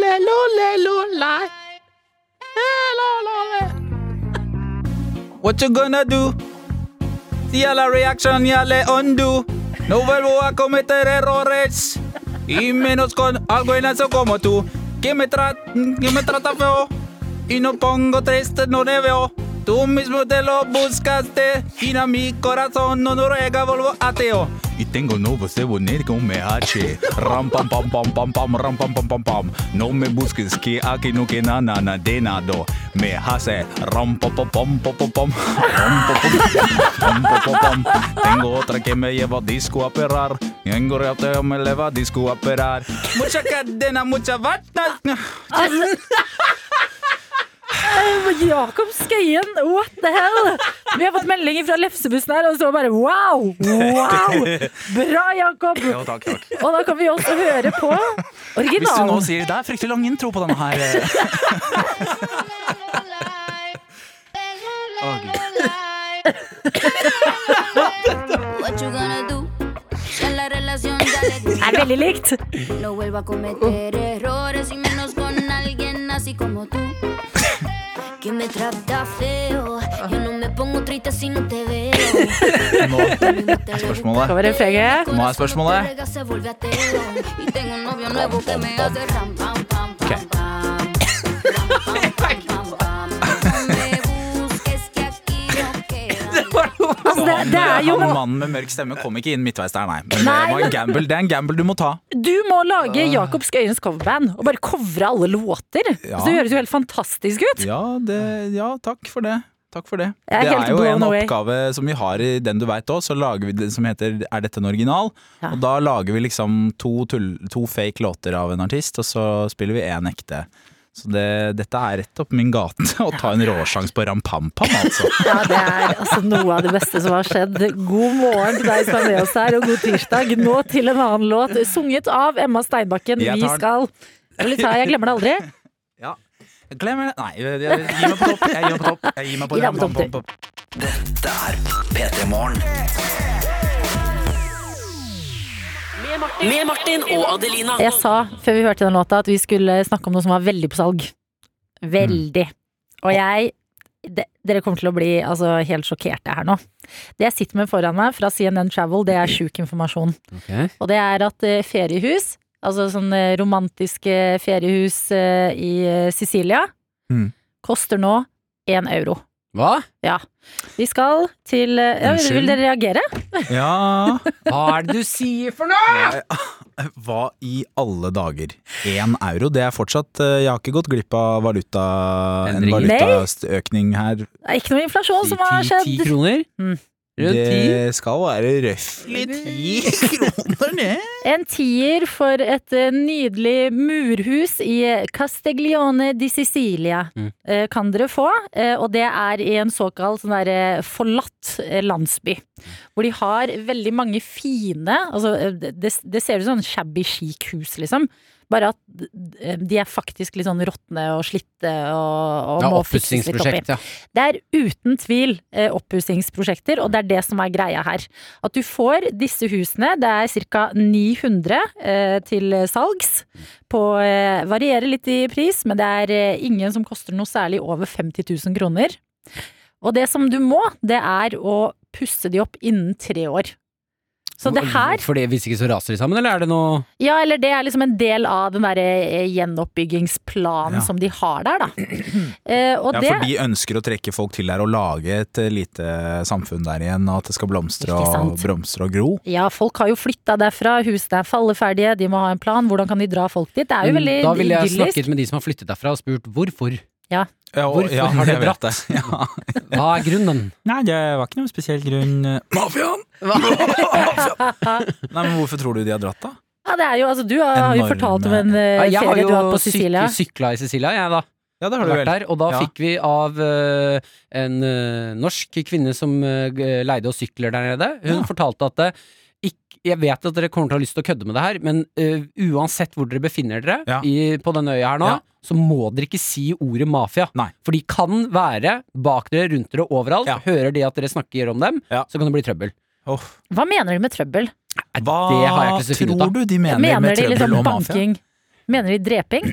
S1: lelo, lelo, lei. Lelo, lele.
S7: What you gonna do? Si a la reaction ya le undo. No vuelvo a cometer errores. Y menos con algo en eso como tú. Que me, tra que me trata feo. y no pongo triste, no te veo. Tú mismo te lo buscaste y a mi corazón no noruega vuelvo ateo. Y tengo nuevo bonito con MH. Ram pam pam pam pam pam ram pam pam pam pam. No me busques que aquí no que na na na de nado. Me hace ram pam pam pam pam pam pam. Ram pam pam pam pam pam pam. Tengo otra que me lleva a disco a operar. Tengo otra que me lleva a disco a operar. Mucha cadena, mucha bata.
S2: Eh, Jakob Skøyen, what the hell? Vi har fått meldinger fra lefsebussen her, og så bare wow! Wow! Bra, Jakob!
S7: Jo, takk, takk.
S2: Og da kan vi også høre på
S7: Hvis du nå
S2: originalen.
S7: sier det er fryktelig lang intro på denne her eh,
S10: What you gonna do? Si a la relación ya le di un
S2: Det er veldig likt.
S10: No vuelvo a cometer errores y menos con alguien así como tú. Que me trata feo. Yo no me pongo triste si no te veo.
S7: Nå spørsmålet.
S2: Kommer refrenget.
S7: Nå er spørsmålet.
S10: er Ok.
S2: Altså, det, det er jo
S7: Han mannen med mørk stemme kom ikke inn midtveis der, nei. Men det
S2: Nei.
S7: var en gamble, det er en gamble du må ta.
S2: Du må lage Jakob Skøyens coverband og bare covre alle låter.
S7: Ja.
S2: Så det høres jo helt fantastisk ut.
S7: Ja, det, ja takk for det. Takk for det.
S2: Jeg er
S7: Det
S2: helt
S7: er jo
S2: blown
S7: en
S2: away.
S7: oppgave som vi har i Den du veit òg, så lager vi den som heter Er dette en original?
S2: Ja.
S7: Og da lager vi liksom to, tull, to fake låter av en artist, og så spiller vi én ekte. Så det, dette er rett opp min gate, å ta en råsjans på Rampampam, altså.
S2: Ja, det er altså noe av det beste som har skjedd. God morgen til deg som er med oss her, og god tirsdag. Nå til en annen låt, sunget av Emma Steinbakken.
S7: Jeg
S2: Vi
S7: tar den.
S2: skal Eller ta, jeg glemmer det aldri.
S7: Ja. Glem det. Nei, jeg, jeg, gi meg på topp. Jeg gir meg på topp. Jeg gir meg på
S2: Gi deg på topp, du.
S7: Rampampam.
S4: Med Martin og Adelina.
S2: Jeg sa før vi hørte den låta at vi skulle snakke om noe som var veldig på salg. Veldig.
S3: Mm.
S2: Og jeg de, Dere kommer til å bli altså, helt sjokkerte her nå. Det jeg sitter med foran meg fra CNN Travel, det er sjuk informasjon.
S3: Ok.
S2: Og det er at eh, feriehus, altså sånne romantiske feriehus eh, i eh, Sicilia,
S7: Mm.
S2: koster nå én euro.
S3: Hva?
S2: Ja. Vi skal til eh, ja,
S7: Unnskyld?
S2: Vil dere reagere?
S7: Ja
S3: Hva er det du sier for noe?!
S7: Eh, Hva i alle dager? Én euro, det er fortsatt eh, Jeg har ikke gått glipp av valuta, en
S3: Endring.
S7: valutaøkning her.
S2: Det er ikke noe inflasjon som har
S3: Ti
S2: skjedd.
S3: kroner?
S2: Mm.
S3: Rundt ti?
S7: Det skal være røftlig ti kroner ned.
S2: En tier for et eh, nydelig murhus i Castiglione di Sicilia
S3: Mm.
S2: eh, kan dere få. eh, Og det er i en såkalt sånn der, eh, forlatt eh, landsby. Hvor de har veldig mange fine altså, eh, det, det ser ut som sånn shabby chic hus, liksom. Bare at eh, de er faktisk litt sånn råtne og slitte og, og
S3: Ja,
S2: må fikses litt opp i.
S3: oppussingsprosjekt, ja.
S2: Det er uten tvil eh, oppussingsprosjekter, og det er det som er greia her. At du får disse husene, det er ca. 900 eh, til salgs. På, eh, varierer litt i pris, men det er eh, ingen som koster noe særlig over 50 000 kroner. Og det som du må, det er å pusse de opp innen tre år. Så det her
S3: Fordi Hvis ikke så raser de sammen, eller er det noe
S2: ja, eller det er liksom en del av den derre gjenoppbyggingsplanen
S7: Ja.
S2: som de har der, da. Eh, og
S7: Ja,
S2: det
S7: for de ønsker å trekke folk til der og lage et eh, lite samfunn der igjen, og at det skal blomstre
S2: Ikke
S7: og,
S2: sant?
S7: blomstre og gro.
S2: Ja, folk har jo flytta derfra, husene er falleferdige, de må ha en plan, hvordan kan de dra folk dit? Det er jo
S3: Men
S2: veldig
S3: Mm, Da ville jeg
S2: idyllisk.
S3: snakket med de som har flyttet derfra og spurt hvorfor.
S7: Ja, og-
S3: Hvorfor
S7: ja,
S3: har de
S7: jeg vet det? Ja.
S3: Hva er grunnen?
S7: Nei, det var ikke noen spesiell grunn. Mafiaen! Nei, men hvorfor tror du de har dratt, da?
S2: Ja, det er jo, altså, du har har jo
S7: Enorme-
S2: fortalt om en eh,
S3: Ja, jeg har
S2: ferie
S3: jo
S2: du har hatt på
S3: syk-
S2: Sicilia.
S3: sykla i Sicilia, jeg da.
S7: Ja, det
S3: Vært der, og da
S7: Ja.
S3: fikk vi av eh, en eh, norsk kvinne som eh, g- leide oss sykler der nede. Hun
S7: Ja.
S3: fortalte at eh, ikk- jeg vet at dere kommer til å ha lyst til å kødde med det her, men eh, uansett hvor dere befinner dere
S7: Ja.
S3: i, på denne øya her nå,
S7: Ja.
S3: så må dere ikke si ordet mafia.
S7: Nei.
S3: For de kan være bak dere, rundt dere, overalt.
S7: Ja.
S3: Hører de at dere snakker om dem,
S7: Ja.
S3: så kan det bli trøbbel.
S7: Åh.
S2: Hva mener de med trøbbel?
S7: Hva
S3: det har jeg ikke så finne ut av.
S7: tror du de mener,
S2: Mener,
S7: med
S2: de
S7: trøbbel
S2: liksom
S7: og mafia?
S2: banking? Mener de dreping?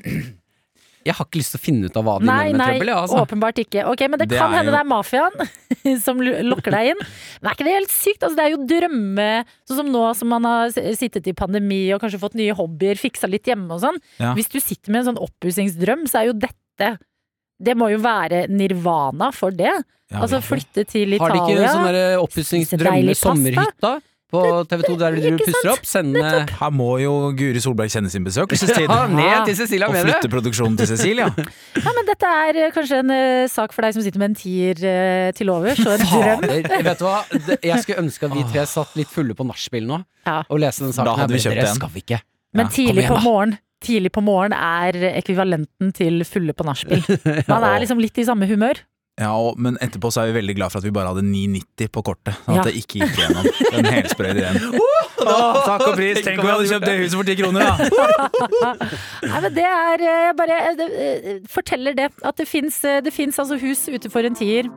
S3: Jeg har ikke lyst til å finne ut av hva de
S2: Nei,
S3: mener med
S2: nei,
S3: trøbbel. Ja, altså.
S2: åpenbart ikke. Ok, Men det,
S7: Det
S2: kan
S7: er
S2: hende
S7: jo-
S2: det er mafiaen som l- lokker deg inn. Men er ikke det helt sykt? Altså, det er jo drømme Sånn som nå som man har s- sittet i pandemi og kanskje fått nye hobbyer, fiksa litt hjemme og sånn.
S7: Ja.
S2: Hvis du sitter med en sånn oppussingsdrøm, så er jo dette Det må jo være nirvana for det.
S7: Ja,
S2: altså
S7: virkelig.
S2: flytte til
S3: Har de
S2: Italia.
S3: ikke sånn der oppussingsdrømme
S2: Deilig pasta.
S3: sommerhytta på TV2 der de driver og
S2: Ikke
S3: pusser
S2: sant?
S3: opp? eh, Sende
S7: Her må jo Guri Solberg kjenne sin besøkelsestid.
S3: Ja, ned til Cecilia
S7: Og
S3: Mehle.
S7: flytte produksjonen til Cecilia.
S2: Ja, men dette er eh, kanskje en eh, sak for deg som sitter med en tier eh, til overs, og en drøm.
S3: Fader, vet du hva? Det- Jeg skulle ønske at vi tre satt litt fulle på nachspiel nå
S2: Ja.
S3: og leste den saken.
S7: Da hadde
S3: her,
S7: vi
S3: men
S7: kjøpt
S3: dere
S7: en.
S3: Skal vi ikke?
S2: Men tidlig
S3: igjen,
S2: på
S3: da.
S2: morgen Tidlig på morgen er ekvivalenten til fulle på nachspiel. Man er liksom litt i samme humør.
S7: Ja, og, Men etterpå så er vi veldig glad for at vi bare hadde 9,90 på kortet. Sånn
S2: Ja.
S7: at det ikke gikk gjennom den helsprøyte ideen. Åh, takk og pris! Tenk om vi hadde kjøpt det huset for ti kroner, da!
S2: Nei, men det er eh, Jeg bare eh, eh, forteller det. At det fins altså hus utenfor en tier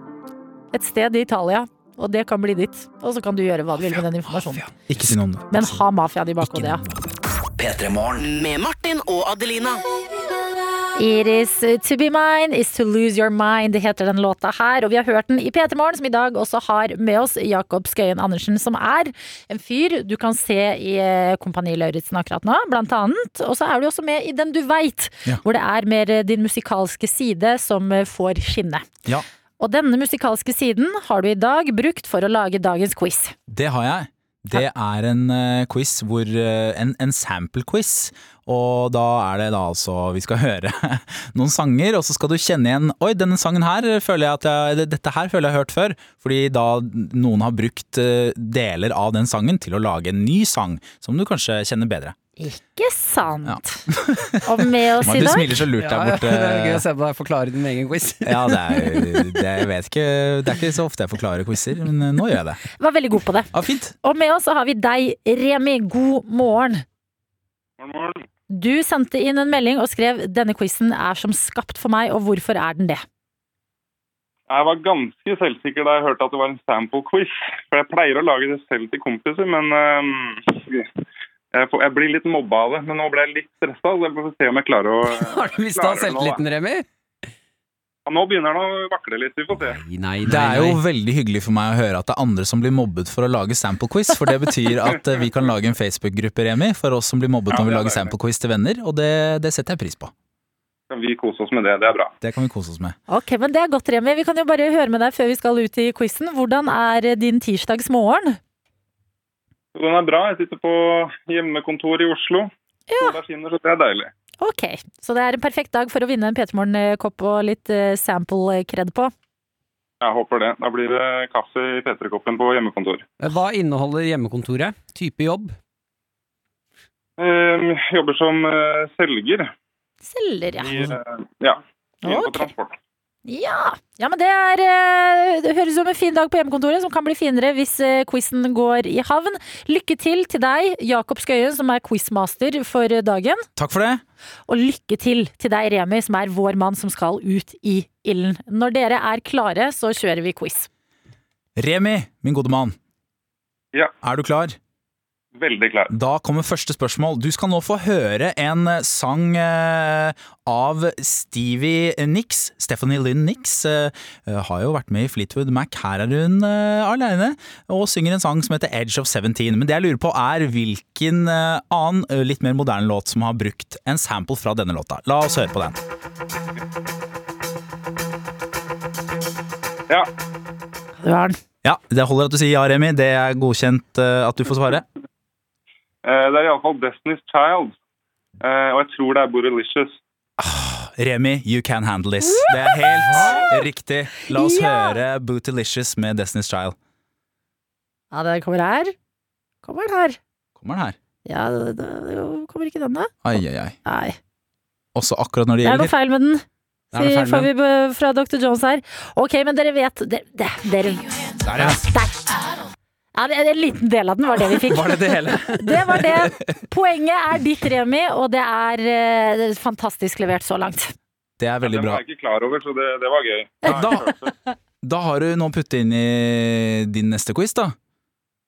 S2: et sted i Italia, og det kan bli ditt. Og så kan du gjøre hva du vil med den informasjonen.
S7: Ikke si noe om det.
S2: Men ha mafiaen i bakhodet, ja.
S4: Med Martin og Adelina.
S2: It is to be mine is to lose your mind, heter den låta her. Og vi har hørt den i P3 Morgen, som i dag også har med oss Jakob Skøyen Andersen, som er en fyr du kan se i eh, Kompani Lauritzen akkurat nå, blant annet. Og så er du også med i Den du veit,
S7: Ja.
S2: hvor det er mer eh, din musikalske side som eh, får skinne.
S7: Ja,
S2: Og denne musikalske siden har du i dag brukt for å lage dagens quiz.
S7: det har jeg. Det er en eh, quiz hvor eh, En, en sample-quiz. Og da er det da altså Vi skal høre noen sanger, og så skal du kjenne igjen Oi, denne sangen her føler jeg at jeg, eller dette her føler jeg har hørt før. Fordi da noen har brukt eh, deler av den sangen til å lage en ny sang som du kanskje kjenner bedre.
S2: Ikke sant? Og med oss
S7: Mar,
S2: i
S7: du
S2: dag
S7: smiler så lurt der borte.
S3: det er gøy å se på deg forklare din egen quiz.
S7: Ja, det er, det, jeg vet ikke, det er ikke så ofte jeg forklarer quizer, men eh, nå gjør jeg det.
S2: var veldig god på det.
S7: Ja, fint.
S2: Og med oss så har vi deg, Remi. God morgen. Du sendte inn en melding og skrev 'Denne quizen er som skapt for meg', og hvorfor er den det?
S11: Jeg var ganske selvsikker da jeg hørte at det var en sample quiz. For jeg pleier å lage det selv til kompiser, men ehm, jeg, får, jeg blir litt mobba av det. Men nå ble jeg litt stressa, så jeg får se om jeg klarer å
S3: Har du
S11: Klarer du
S3: mista
S11: nå,
S3: selvtilliten, Remi?
S11: ja, Nå begynner den å vakle litt, vi får se.
S3: Nei, nei,
S7: Det er
S3: nei.
S7: jo
S3: nei.
S7: veldig hyggelig for meg å høre at det er andre som blir mobbet for å lage sample-quiz, for det betyr at eh, vi kan lage en Facebook-gruppe, Remi, for oss som blir mobbet
S11: Ja,
S7: når vi
S11: det er
S7: lager
S11: det.
S7: sample-quiz til venner, og det, det setter jeg pris på.
S11: Kan vi kose oss med det? Det er bra.
S7: Det kan vi kose oss med.
S2: Ok, men Det er godt, Remi. Vi kan jo bare høre med deg før vi skal ut i quizen. Hvordan er eh, din tirsdagsmorgen?
S11: Så den er bra. Jeg sitter på hjemmekontor i Oslo. Sola skinner, så det er deilig.
S2: Ok, så det er en perfekt dag for å vinne en P3 Morgen-kopp og litt eh, sample-kred på.
S11: Jeg håper det. Da blir det kaffe i P3-koppen på hjemmekontor.
S3: Hva inneholder hjemmekontoret? Type jobb?
S11: Ehm, jobber som eh, selger.
S2: Selger,
S11: I,
S2: ja.
S11: eh, ja. Inne på
S2: Ok.
S11: transport.
S2: Ja, ja men det, er, eh, det høres ut som en fin dag på hjemmekontoret, som kan bli finere hvis eh, quizen går i havn. Lykke til til deg, Jakob Skøyen, som er quizmaster for eh, dagen.
S7: Takk for det.
S2: Og lykke til til deg, Remi, som er vår mann som skal ut i ilden. Når dere er klare, så kjører vi quiz.
S7: Remi, min gode mann.
S11: Ja.
S7: Er du klar?
S11: Veldig klar.
S7: Da kommer første spørsmål. Du skal nå få høre en eh, sang eh, av Stevie Nicks. Stephanie Lynn Nicks eh, eh, har jo vært med i Fleetwood Mac. Her er hun eh, alene og synger en sang som heter Edge of 17. Men det jeg lurer på er hvilken eh, annen eh, litt mer moderne låt som har brukt en sample fra denne låta. La oss høre på den.
S11: Ja.
S2: Du har den.
S7: Ja, Det holder at du sier ja, Remi. Det er godkjent eh, at du får svare.
S11: Eh, Det er iallfall Destiny's Child. Eh, og jeg tror det er Borrelicious.
S7: Remi, you can handle this. Det er helt riktig. La oss høre Bootylicious med Destiny's Child.
S2: Ja, den kommer her. Kommer den her.
S7: Kommer den her?
S2: Ja, det- det- kommer ikke den, da?
S7: Ai, ai, ai.
S2: Nei.
S7: Også akkurat når det
S2: Det er noe
S7: gjelder
S2: feil med den.
S3: Det er noe
S2: Sier-
S3: feil
S2: Får
S3: med
S2: vi be- fra Dr. Jones her. Ok, men dere vet Dere, dere
S7: Der, ja.
S2: Ja, det- En liten del av den var det vi fikk.
S3: Var det det hele?
S2: Det var det. Poenget er ditt, Remi, og det er eh, det er fantastisk levert så langt.
S7: Det er veldig
S11: Den
S7: bra.
S11: var jeg ikke klar over, så det, det var gøy.
S7: Da, da har du noe å putte inn i din neste quiz, da.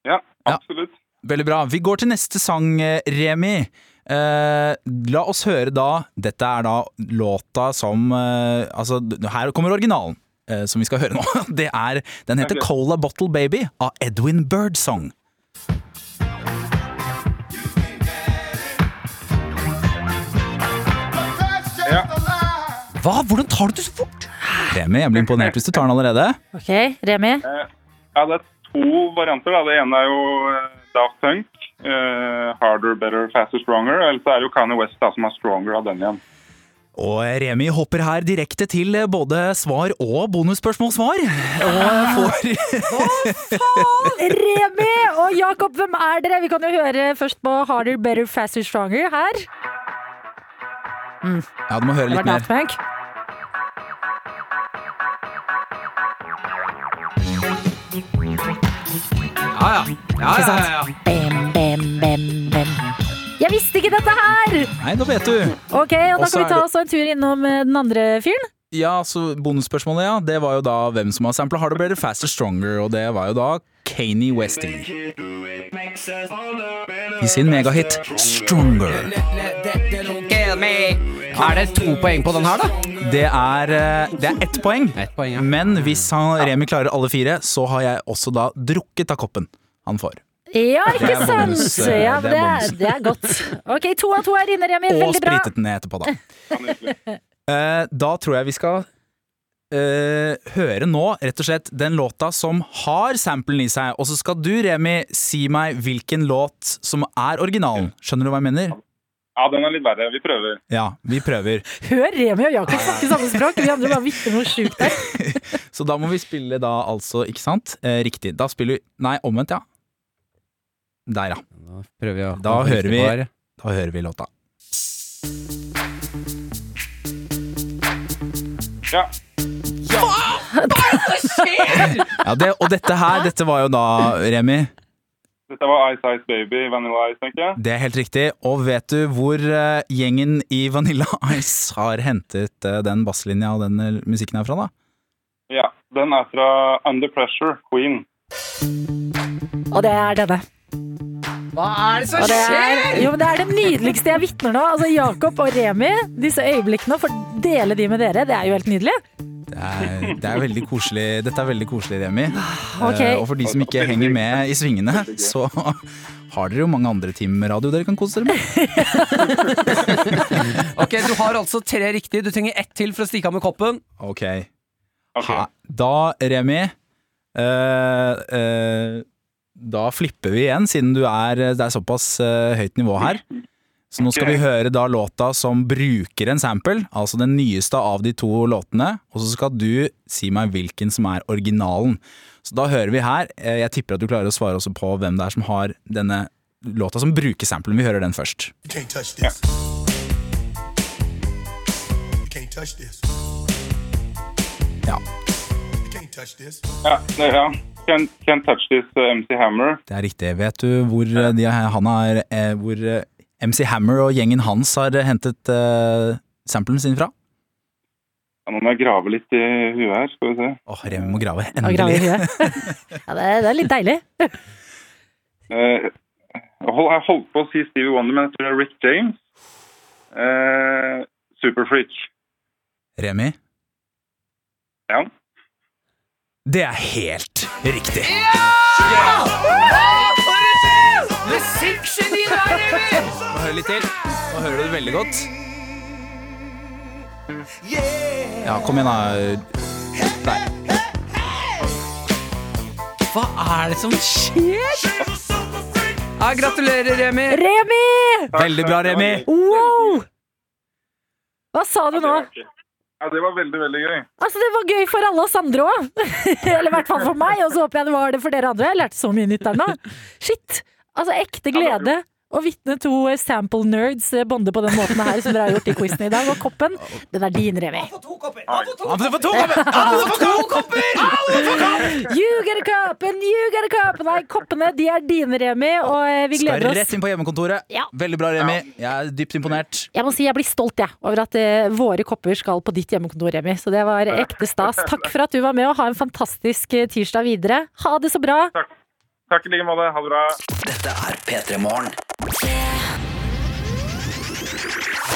S11: Ja,
S7: Ja.
S11: absolutt.
S7: Veldig bra. Vi går til neste sang, eh, Remi. Eh, la oss høre da Dette er da låta som eh, Altså, d- her kommer originalen, eh, som vi skal høre nå. Det er, den heter
S11: Ok.
S7: Cola Bottle Baby av Edwin Birdsong.
S11: Ja.
S3: Hva? Hvordan tar du det så fort?
S7: Remi, jeg blir imponert hvis du tar den allerede.
S2: Ok, Remi?
S11: Eh, Ja, det er to varianter. Da. Det ene er jo eh, Daft Punk. eh, harder, better, faster, stronger. Eller så er det jo Kanye West da, som er stronger av den igjen.
S7: Og Remi hopper her direkte til eh, både svar og bonusspørsmålsvar. Og får
S2: Remi og Jakob, hvem er dere? Vi kan jo høre først på Harder, Better, Faster, Stronger her.
S7: Ja, du må høre
S2: Det
S7: litt
S2: var Daft
S7: mer.
S2: Punk.
S3: Ja, ja. ja, ja, ja, ja.
S2: Bam, bam, bam, bam. Jeg visste ikke dette her!
S7: Nei, nå vet du.
S2: Ok, og Da
S7: Og
S2: kan
S7: så
S2: vi
S7: er
S2: ta
S7: det-
S2: oss en tur innom eh, den andre fyren.
S7: Ja, så bonusspørsmålet, ja. Det var jo da hvem som har sampla Harder Better Faster Stronger, og det var jo da Kanye Westing. I sin megahit Stronger.
S3: Er det to poeng på den her, da?
S7: Det er, eh, det er ett poeng, men hvis han, Remi klarer alle fire, så har jeg også da drukket av koppen han får.
S2: Ja,
S7: Det
S2: ikke
S7: er
S2: sant?
S7: bonus, eh,
S2: Ja,
S7: det er
S2: det, er,
S7: bonus.
S2: det er godt. Ok, To av to er inne, Remi.
S7: Og
S2: Veldig bra.
S7: spritet den ned etterpå, da. Eh, Da tror jeg vi skal eh, høre nå, rett og slett, den låta som har samplen i seg. Og så skal du, Remi, si meg hvilken låt som er originalen. Skjønner du hva jeg mener?
S11: Ja, den er litt verre. Vi prøver.
S7: Ja, vi prøver.
S2: Hør Remi og Jakob snakke samme språk. Vi andre bare vipper noe sjukt der.
S7: Så da må vi spille da altså, ikke sant? Eh, Riktig. Da spiller vi Nei, omvendt, ja. Der, ja.
S3: Prøver vi å
S7: Da hører vi, da hører vi låta.
S11: Ja.
S7: Ja, det, og dette her, dette var jo da, Remi,
S11: Dette var Ice Ice Baby, Vanilla Ice, tenker jeg.
S7: det er helt riktig. Og vet du hvor eh, gjengen i Vanilla Ice har hentet eh, den basslinja og den eh, musikken herfra, da?
S11: Ja, Den er fra Under Pressure, Queen.
S2: Og det er denne.
S3: Hva er det som
S2: Og det er, jo, men det er det nydeligste jeg vitner nå. Altså, Jakob og Remi, disse øyeblikkene, for dele de med dere. Det er jo helt nydelig.
S7: Det er, det er veldig koselig. Dette er veldig koselig, Remi. Eh,
S2: Ok.
S7: og for de som ikke henger med i svingene, så har dere jo mange andre timer radio dere kan kose dere med.
S3: Ok, Du har altså tre riktig. Du trenger ett til for å stikke av med koppen.
S7: Ok. Ha, da, Remi eh, eh, Da flipper vi igjen, siden du er, det er såpass eh, høyt nivå her. Så nå skal vi høre da låta som bruker en sample, altså den nyeste av de to låtene. Og så skal du si meg hvilken som er originalen. Så da hører vi her. eh, Jeg tipper at du klarer å svare også på hvem det er som har denne låta som bruker samplen. Vi hører den først.
S12: You can't touch this. You can't touch this.
S7: Ja.
S12: You can't touch this.
S11: Ja, det, ja. Can't, can't touch this uh, MC Hammer.
S7: Det er riktig. Vet du hvor, eh, de, han har, eh, hvor eh, MC Hammer og gjengen hans har eh, hentet eh, samplen sin fra?
S11: Ja, nå må jeg grave litt i huet her. skal vi se.
S7: Åh, Remi må grave.
S2: Og grave i
S7: Endelig.
S2: huet. Ja, det, er- det er litt deilig.
S11: Eh, hold, jeg holdt på å si Stevie Wonder, men jeg tror det er Rick James. Eh, Superfreak.
S7: Remi?
S11: Ja.
S7: Det er helt riktig.
S3: Musikkgeni der, Emil!
S7: Nå hører litt til. Nå hører du det veldig godt. Ja, kom igjen, da. Nei.
S3: Hva er det som skjer? Ja, gratulerer, Remi.
S2: Remi!
S7: Veldig bra, Remi.
S2: Wow! Hva sa du nå?
S11: Ja, det var veldig, veldig gøy.
S2: Altså, Det var gøy for alle oss andre òg. Eller i hvert fall for meg, og så håper jeg det var det for dere andre. Jeg lærte så mye nytt der nå. Shit. Altså, ekte glede å vitne to eh, sample nerds eh, bonde på den måten her som dere har gjort i quizen i dag. Og koppen, den er din, Remi.
S7: Han får to kopper! Han får to kopper!
S2: You get a cup, and you get a cup. Nei, koppene de er dine, Remi, og eh, vi
S7: Skal
S2: gleder oss.
S7: rett inn på hjemmekontoret.
S2: Ja.
S7: Veldig bra, Remi. Jeg er dypt imponert.
S2: Jeg må si jeg blir stolt jeg, over at eh, våre kopper skal på ditt hjemmekontor, Remi. Så det var ekte stas. Takk for at du var med, og ha en fantastisk eh, tirsdag videre. Ha det så bra.
S11: Takk i like måte. Ha det bra.
S4: Dette er P3 Morgen.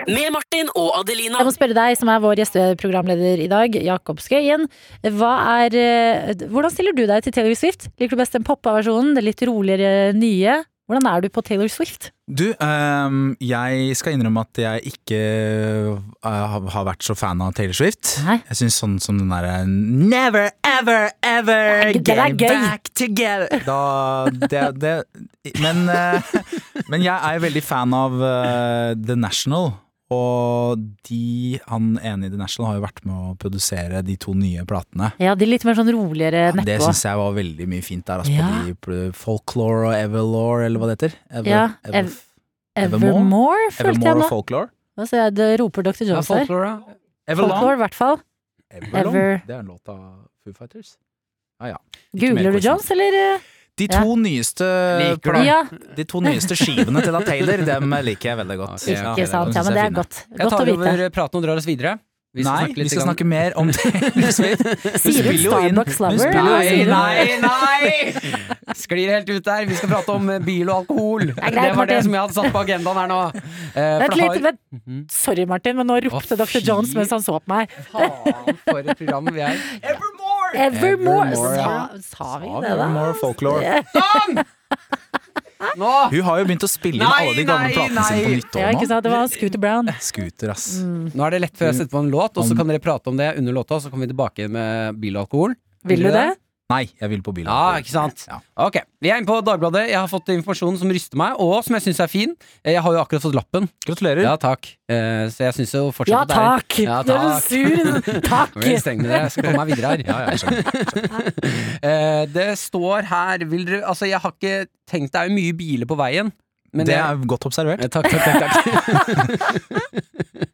S4: Med Martin og Adelina.
S2: Jeg må spørre deg, som er vår gjesteprogramleder i dag, Jakob Skøyen. Hva er, eh, hvordan stiller du deg til Taylor Swift? Liker du best den poppa-versjonen, det litt roligere nye? Hvordan er du på Taylor Swift?
S7: Du, ehm, jeg skal innrømme at jeg ikke eh, har har vært så fan av Taylor Swift. Jeg syns sånn som den derre Never ever ever
S2: Den er
S7: get
S2: gøy.
S7: back together da, det, det, men, eh, men jeg er jo veldig fan av eh, The National. Og de, han ene i The National har jo vært med å produsere de to nye platene.
S2: Ja, de litt mer sånn roligere neppe.
S7: Det syns jeg var veldig mye fint der. Altså,
S2: Ja.
S7: På de folklore og everlore, eller hva det heter. Ever-
S2: Ja, ev
S7: ever-
S2: Evermore, følte
S7: Evermore
S2: jeg nå.
S7: og folklore.
S2: Hva sier jeg? Det roper Dr. Jones der.
S7: folklore, ja. Everlong.
S2: Folklore, i hvert fall.
S7: Everlong?
S2: Ever-
S7: Det er en låt av Foo Fighters. Ah, ja. Ikke mer
S2: Googler du
S7: questions.
S2: Jones, eller? eh?
S7: De to nyeste
S2: Liker du? Ja.
S7: De to nyeste skivene til da Taylor, dem liker jeg veldig godt.
S2: Ikke sant, ja,
S7: De synes
S2: men det
S7: jeg
S2: er godt.
S3: Jeg
S2: Godt å
S3: tar
S2: vite.
S3: over praten og drar oss videre. Vi skal
S7: Nei,
S3: snakke litt
S7: vi skal
S3: grann-
S7: snakke mer om Taylor Swift. Hun
S2: Sier du
S7: spiller jo inn-
S2: Starbucks
S7: hun
S2: lover,
S7: spiller
S2: eller hva
S7: jo
S2: sier
S7: inn-
S2: du?
S3: Nei, nei! Sklir helt ut der. Vi skal prate om eh, bil og alkohol. Det,
S2: er greit,
S3: var
S2: Martin.
S3: det som jeg hadde satt på agendaen her nå. Eh, for
S2: Vent litt,
S3: det har-
S2: vent. Sorry, Martin, men nå ropte Dr. Jones mens han så på meg.
S3: For et program vi er.
S2: Evermore!
S7: Evermore, ja.
S2: Sa, sa vi
S7: Ja,
S2: det, da?
S7: Evermore folklore.
S3: Nå!
S7: Hun har jo begynt å spille inn
S3: Nei,
S7: alle de gamle
S3: nei,
S7: platene sine på
S3: nei.
S7: nytt
S2: Ja,
S7: år
S2: ikke
S7: nå.
S2: sant? Mm. Det var Scooter Brown.
S7: Scooter, ass.
S3: Nå er det lett før jeg setter på en låt, og så kan dere prate om det under låta, og så kommer vi tilbake med bil og alkohol.
S2: Vil du det?
S7: Nei, jeg vil på bil.
S3: Ja, ikke sant? Ok, Vi er inne på Dagbladet. Jeg har fått informasjon som ryster meg, og som jeg syns er fin. Eh, Jeg har jo akkurat fått lappen.
S7: Gratulerer.
S3: Ja, takk. Eh, Så jeg syns jo fortsatt
S2: Ja
S3: at det er-
S2: takk! Nå er du sur. Takk!
S3: Jeg er streng med dere. Jeg skal komme meg videre her.
S7: Ja, ja, jeg skjønner.
S3: Eh, Det står her vil dere, Altså, jeg har ikke tenkt Det er jo mye biler på veien. Men
S7: det
S3: jeg-
S7: er godt observert.
S3: Eh, Takk, takk, takk. takk.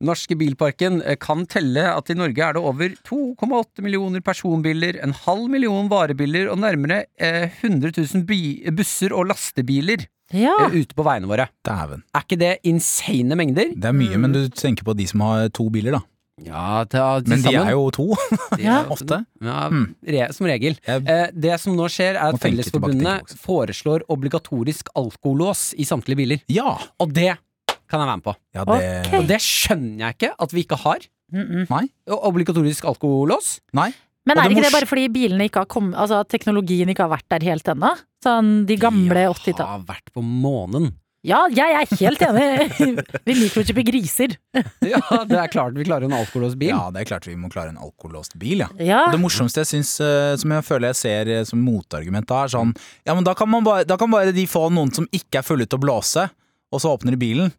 S3: Norske bilparken eh, kan telle at i Norge er det over 2,8 millioner personbiler, en halv million varebiler og nærmere eh, 100 000 bi busser og lastebiler
S2: Ja.
S3: eh, ute på veiene våre.
S7: Dæven.
S3: Er ikke det insane mengder?
S7: Det er mye, men du tenker på de som har to biler, da.
S3: Ja, ta,
S7: Men de er jo to,
S3: Ja.
S7: ofte.
S3: Ja,
S7: Mm.
S3: re, som regel. Eh, det som nå skjer, er
S7: Må
S3: at
S7: tenke
S3: Fellesforbundet foreslår obligatorisk alkolås i samtlige biler.
S7: Ja!
S3: Og det kan jeg være med på.
S7: Ja, det
S2: Ok.
S3: Og det skjønner jeg ikke at vi ikke har.
S2: Mm-mm.
S7: Nei.
S3: Og Obligatorisk alkolås.
S7: Nei.
S2: Men
S7: Og
S2: er
S7: det
S2: ikke det
S7: mors-
S2: bare fordi bilene ikke har kommet Altså at teknologien ikke har vært der helt ennå? Sånn de gamle 80-tall.
S3: Har vært på månen.
S2: Ja, jeg er helt enig! Vi mikrochipper griser.
S3: Ja, det er klart vi klarer en alkolåst bil.
S7: Ja, det er klart vi må klare en alkolåst bil, ja.
S2: Ja.
S7: Og det morsomste jeg syns, eh, som jeg føler jeg ser eh, som motargument da, er sånn Ja, men da kan, man bare, da kan bare de få noen som ikke er fulle til å blåse, og så åpner de bilen.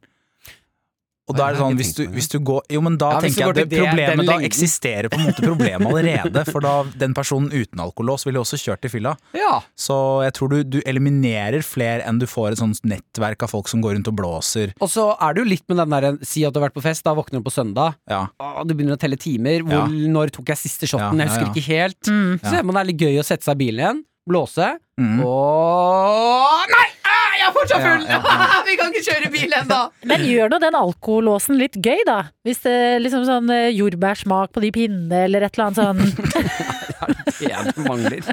S7: Og da er det
S3: Nei, jeg har
S7: sånn,
S3: ikke
S7: hvis du,
S3: tenkt på det.
S7: hvis du går Jo, men da
S3: Ja, hvis
S7: tenker jeg
S3: du går
S7: at det,
S3: til det- den
S7: problemet Da
S3: lengden.
S7: eksisterer på en måte problemet allerede, for da den personen uten alkolås ville jo også kjørt i fylla.
S3: Ja.
S7: Så jeg tror du, du eliminerer flere enn du får et sånt nettverk av folk som går rundt og blåser.
S3: Og så er det jo litt med den der Si at du har vært på fest, da våkner du på søndag.
S7: Ja.
S3: Å, du begynner å telle timer. Hvor, Når tok jeg siste shoten?
S7: Ja, ja,
S3: Jeg husker
S7: ja.
S3: ikke helt.
S2: Mm.
S3: Så ser man det er litt gøy å sette seg i bilen igjen, blåse,
S7: Mm.
S3: og Nei! Ah, jeg er fortsatt
S7: Ja,
S3: full!
S7: ja, ja.
S3: Vi kan ikke kjøre bil ennå!
S2: Men gjør nå den alkolåsen litt gøy, da. Hvis det liksom sånn eh, jordbærsmak på de pinnene, eller et eller annet sånn
S3: Det er det som mangler.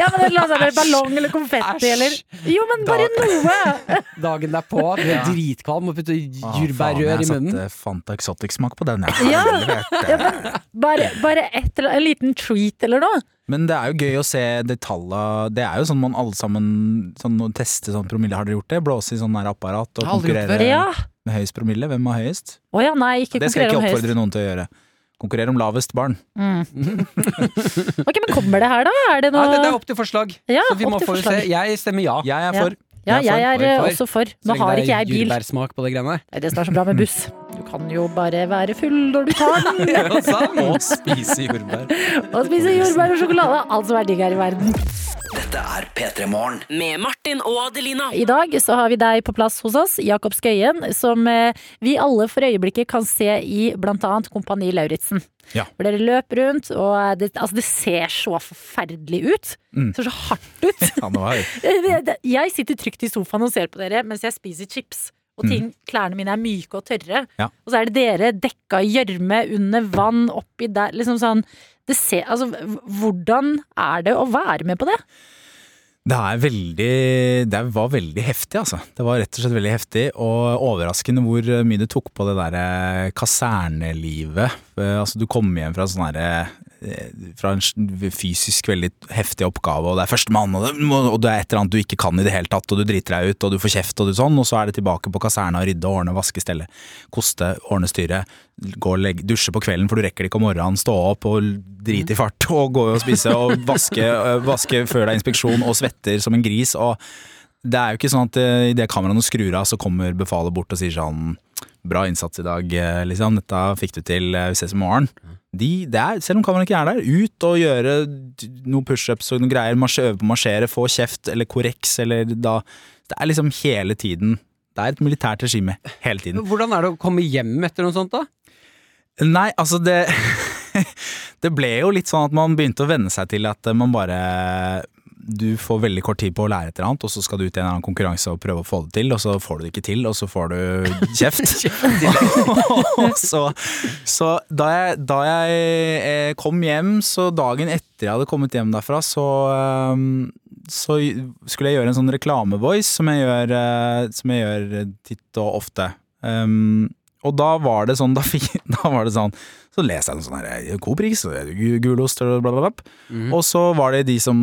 S2: Ja, men et eller annet sånn eller ballong eller konfetti
S3: Æsj.
S2: eller Jo, men bare noe!
S3: Dagen derpå, du er dritkvalm og putter
S7: Å,
S3: jordbærrør
S7: faen,
S3: i munnen.
S7: Jeg satte Fanta Exotic-smak på den,
S2: Ja.
S7: jeg.
S2: Ja, men bare, bare et eller en liten treat eller noe.
S7: Men det er jo gøy å se detaljer Det er jo sånn man alle sammen sånn, å Teste sånn promille, har dere gjort det? Blåse i sånn der apparat og
S3: har aldri gjort det
S7: konkurrere
S2: Ja.
S7: med høyest promille? Hvem har høyest?
S2: Å ja, nei, ikke
S7: Det skal
S2: konkurrere
S7: jeg ikke
S2: om høyest.
S7: oppfordre noen til å gjøre. Konkurrere om lavest barn.
S2: Mm. Ok, men kommer det her, da? Er det
S3: Nei,
S2: noe
S3: det, det er opp til forslag.
S2: Ja,
S3: så vi
S2: opp
S3: må
S2: til
S3: få se.
S2: forslag.
S3: Jeg stemmer ja.
S7: Jeg er
S2: Ja.
S7: for.
S2: Ja,
S3: Jeg er
S2: jeg
S3: for,
S2: er
S3: for,
S2: eh,
S3: for.
S2: også for.
S3: Så
S2: Nå
S3: lenge
S2: har
S3: det
S2: ikke
S3: er
S2: jeg bil.
S3: jordbærsmak på det greiene
S2: Nei, Det som er så bra med buss. Du kan jo bare være full når du tar den,
S3: der. Ja, sant?
S7: Og spise jordbær.
S2: og spise jordbær og sjokolade. Alt som er digg her i verden.
S4: Dette er P3 Morgen. Med Martin og Adelina.
S2: I dag så har vi deg på plass hos oss, Jakob Skøyen, som eh, vi alle for øyeblikket kan se i bl.a. Kompani Lauritzen.
S7: Ja.
S2: Hvor dere løper rundt, og det, altså, det ser så forferdelig ut.
S7: Mm.
S2: Det ser så hardt ut.
S7: Ja, nå er
S2: Eh, Det- det- Jeg sitter trygt i sofaen og ser på dere mens jeg spiser chips. Og ting, klærne mine er myke og tørre.
S7: Ja.
S2: Og så er det dere dekka i gjørme, under vann, oppi der. Liksom sånn det ser, altså, h- Hvordan er det å være med på det?
S7: Det er veldig Det var veldig heftig, altså. Det var rett og slett veldig heftig, og overraskende hvor mye det tok på det derre kasernelivet. Eh, Altså, du kom hjem fra sånn herre eh, fra en s- fysisk veldig heftig oppgave, og det er førstemann, og, det- må- og det er et eller annet du ikke kan i det hele tatt, og du driter deg ut, og du får kjeft, og du sånn, og så er det tilbake på kaserna og rydde, ordne, vaske, stelle, koste, ordne styret, gå og legge, dusje på kvelden, for du rekker det ikke om morgenen, stå opp og drite i fart, og gå og spise, og vaske, eh, vaske før det er inspeksjon, og svetter som en gris, og det er jo ikke sånn at eh, i det kameraene skrur av, så kommer befalet bort og sier sånn Bra innsats i dag, eh, liksom. Dette fikk du til. eh, Vi ses i morgen. De, det er, selv om kameraet ikke er der, ut og gjøre d- noen pushups og noen greier. Marsje, øve på å marsjere, få kjeft eller korreks eller da Det er liksom hele tiden. Det er et militært regime hele tiden.
S3: Hvordan er det å komme hjem etter noe sånt, da?
S7: Nei, altså det Det ble jo litt sånn at man begynte å venne seg til at man bare Du får veldig kort tid på å lære et eller annet, og så skal du ut i en eller annen konkurranse og prøve å få det til, og så får du det ikke til, og så får du kjeft. Og så, så da jeg, da jeg eh, kom hjem, så dagen etter jeg hadde kommet hjem derfra, så eh, så skulle jeg gjøre en sånn reklamevoice som jeg gjør, eh, som jeg gjør titt og ofte. Um, og da var det sånn Da, fikk, da var det sånn Så leste jeg noe sånn her God pris, og gu- gulost og bla, bla, bla. Og så var det de som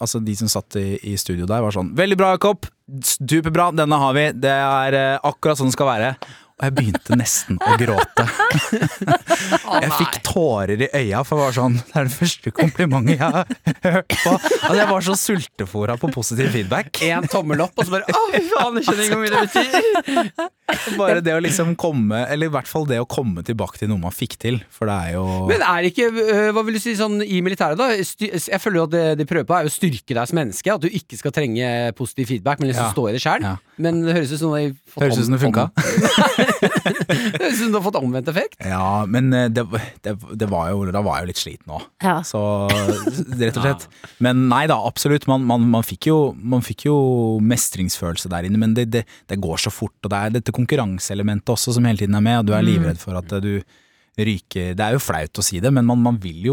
S7: Altså de som satt i, i studio der, var sånn Veldig bra, Jakob. Superbra. Denne har vi. Det er eh, akkurat sånn det skal være. Og jeg begynte nesten å gråte. Jeg fikk tårer i øya, for jeg var sånn Det er det første komplimentet jeg har hørt på. Altså, jeg var så sultefora på positiv feedback.
S3: Én tommel opp, og så bare Å, fy faen, jeg skjønner ikke hvor mye det betyr!
S7: Bare det å liksom komme, eller i hvert fall det å komme tilbake til noe man fikk til, for det er jo
S3: Men er det ikke, øh, hva vil du si sånn i militæret da? Sty jeg føler jo at det de prøver på er jo å styrke deg som menneske, at du ikke skal trenge positiv feedback, men liksom
S7: Ja.
S3: stå i det sjøl.
S7: Ja.
S3: Men det høres ut som det har fått
S7: Høres ut som det funka.
S3: om- høres ut som du har fått omvendt effekt.
S7: Ja, men eh, det, det, det var jo, da var jeg jo litt sliten òg.
S2: Ja.
S7: Så rett og slett. Men nei da, absolutt. Man, man, man, fikk, jo, man fikk jo mestringsfølelse der inne, men det, det, det går så fort. Og det er dette konkurranseelementet også som hele tiden er med, og du er
S2: Mm.
S7: livredd for at eh, du ryker Det er jo flaut å si det, men man, man vil jo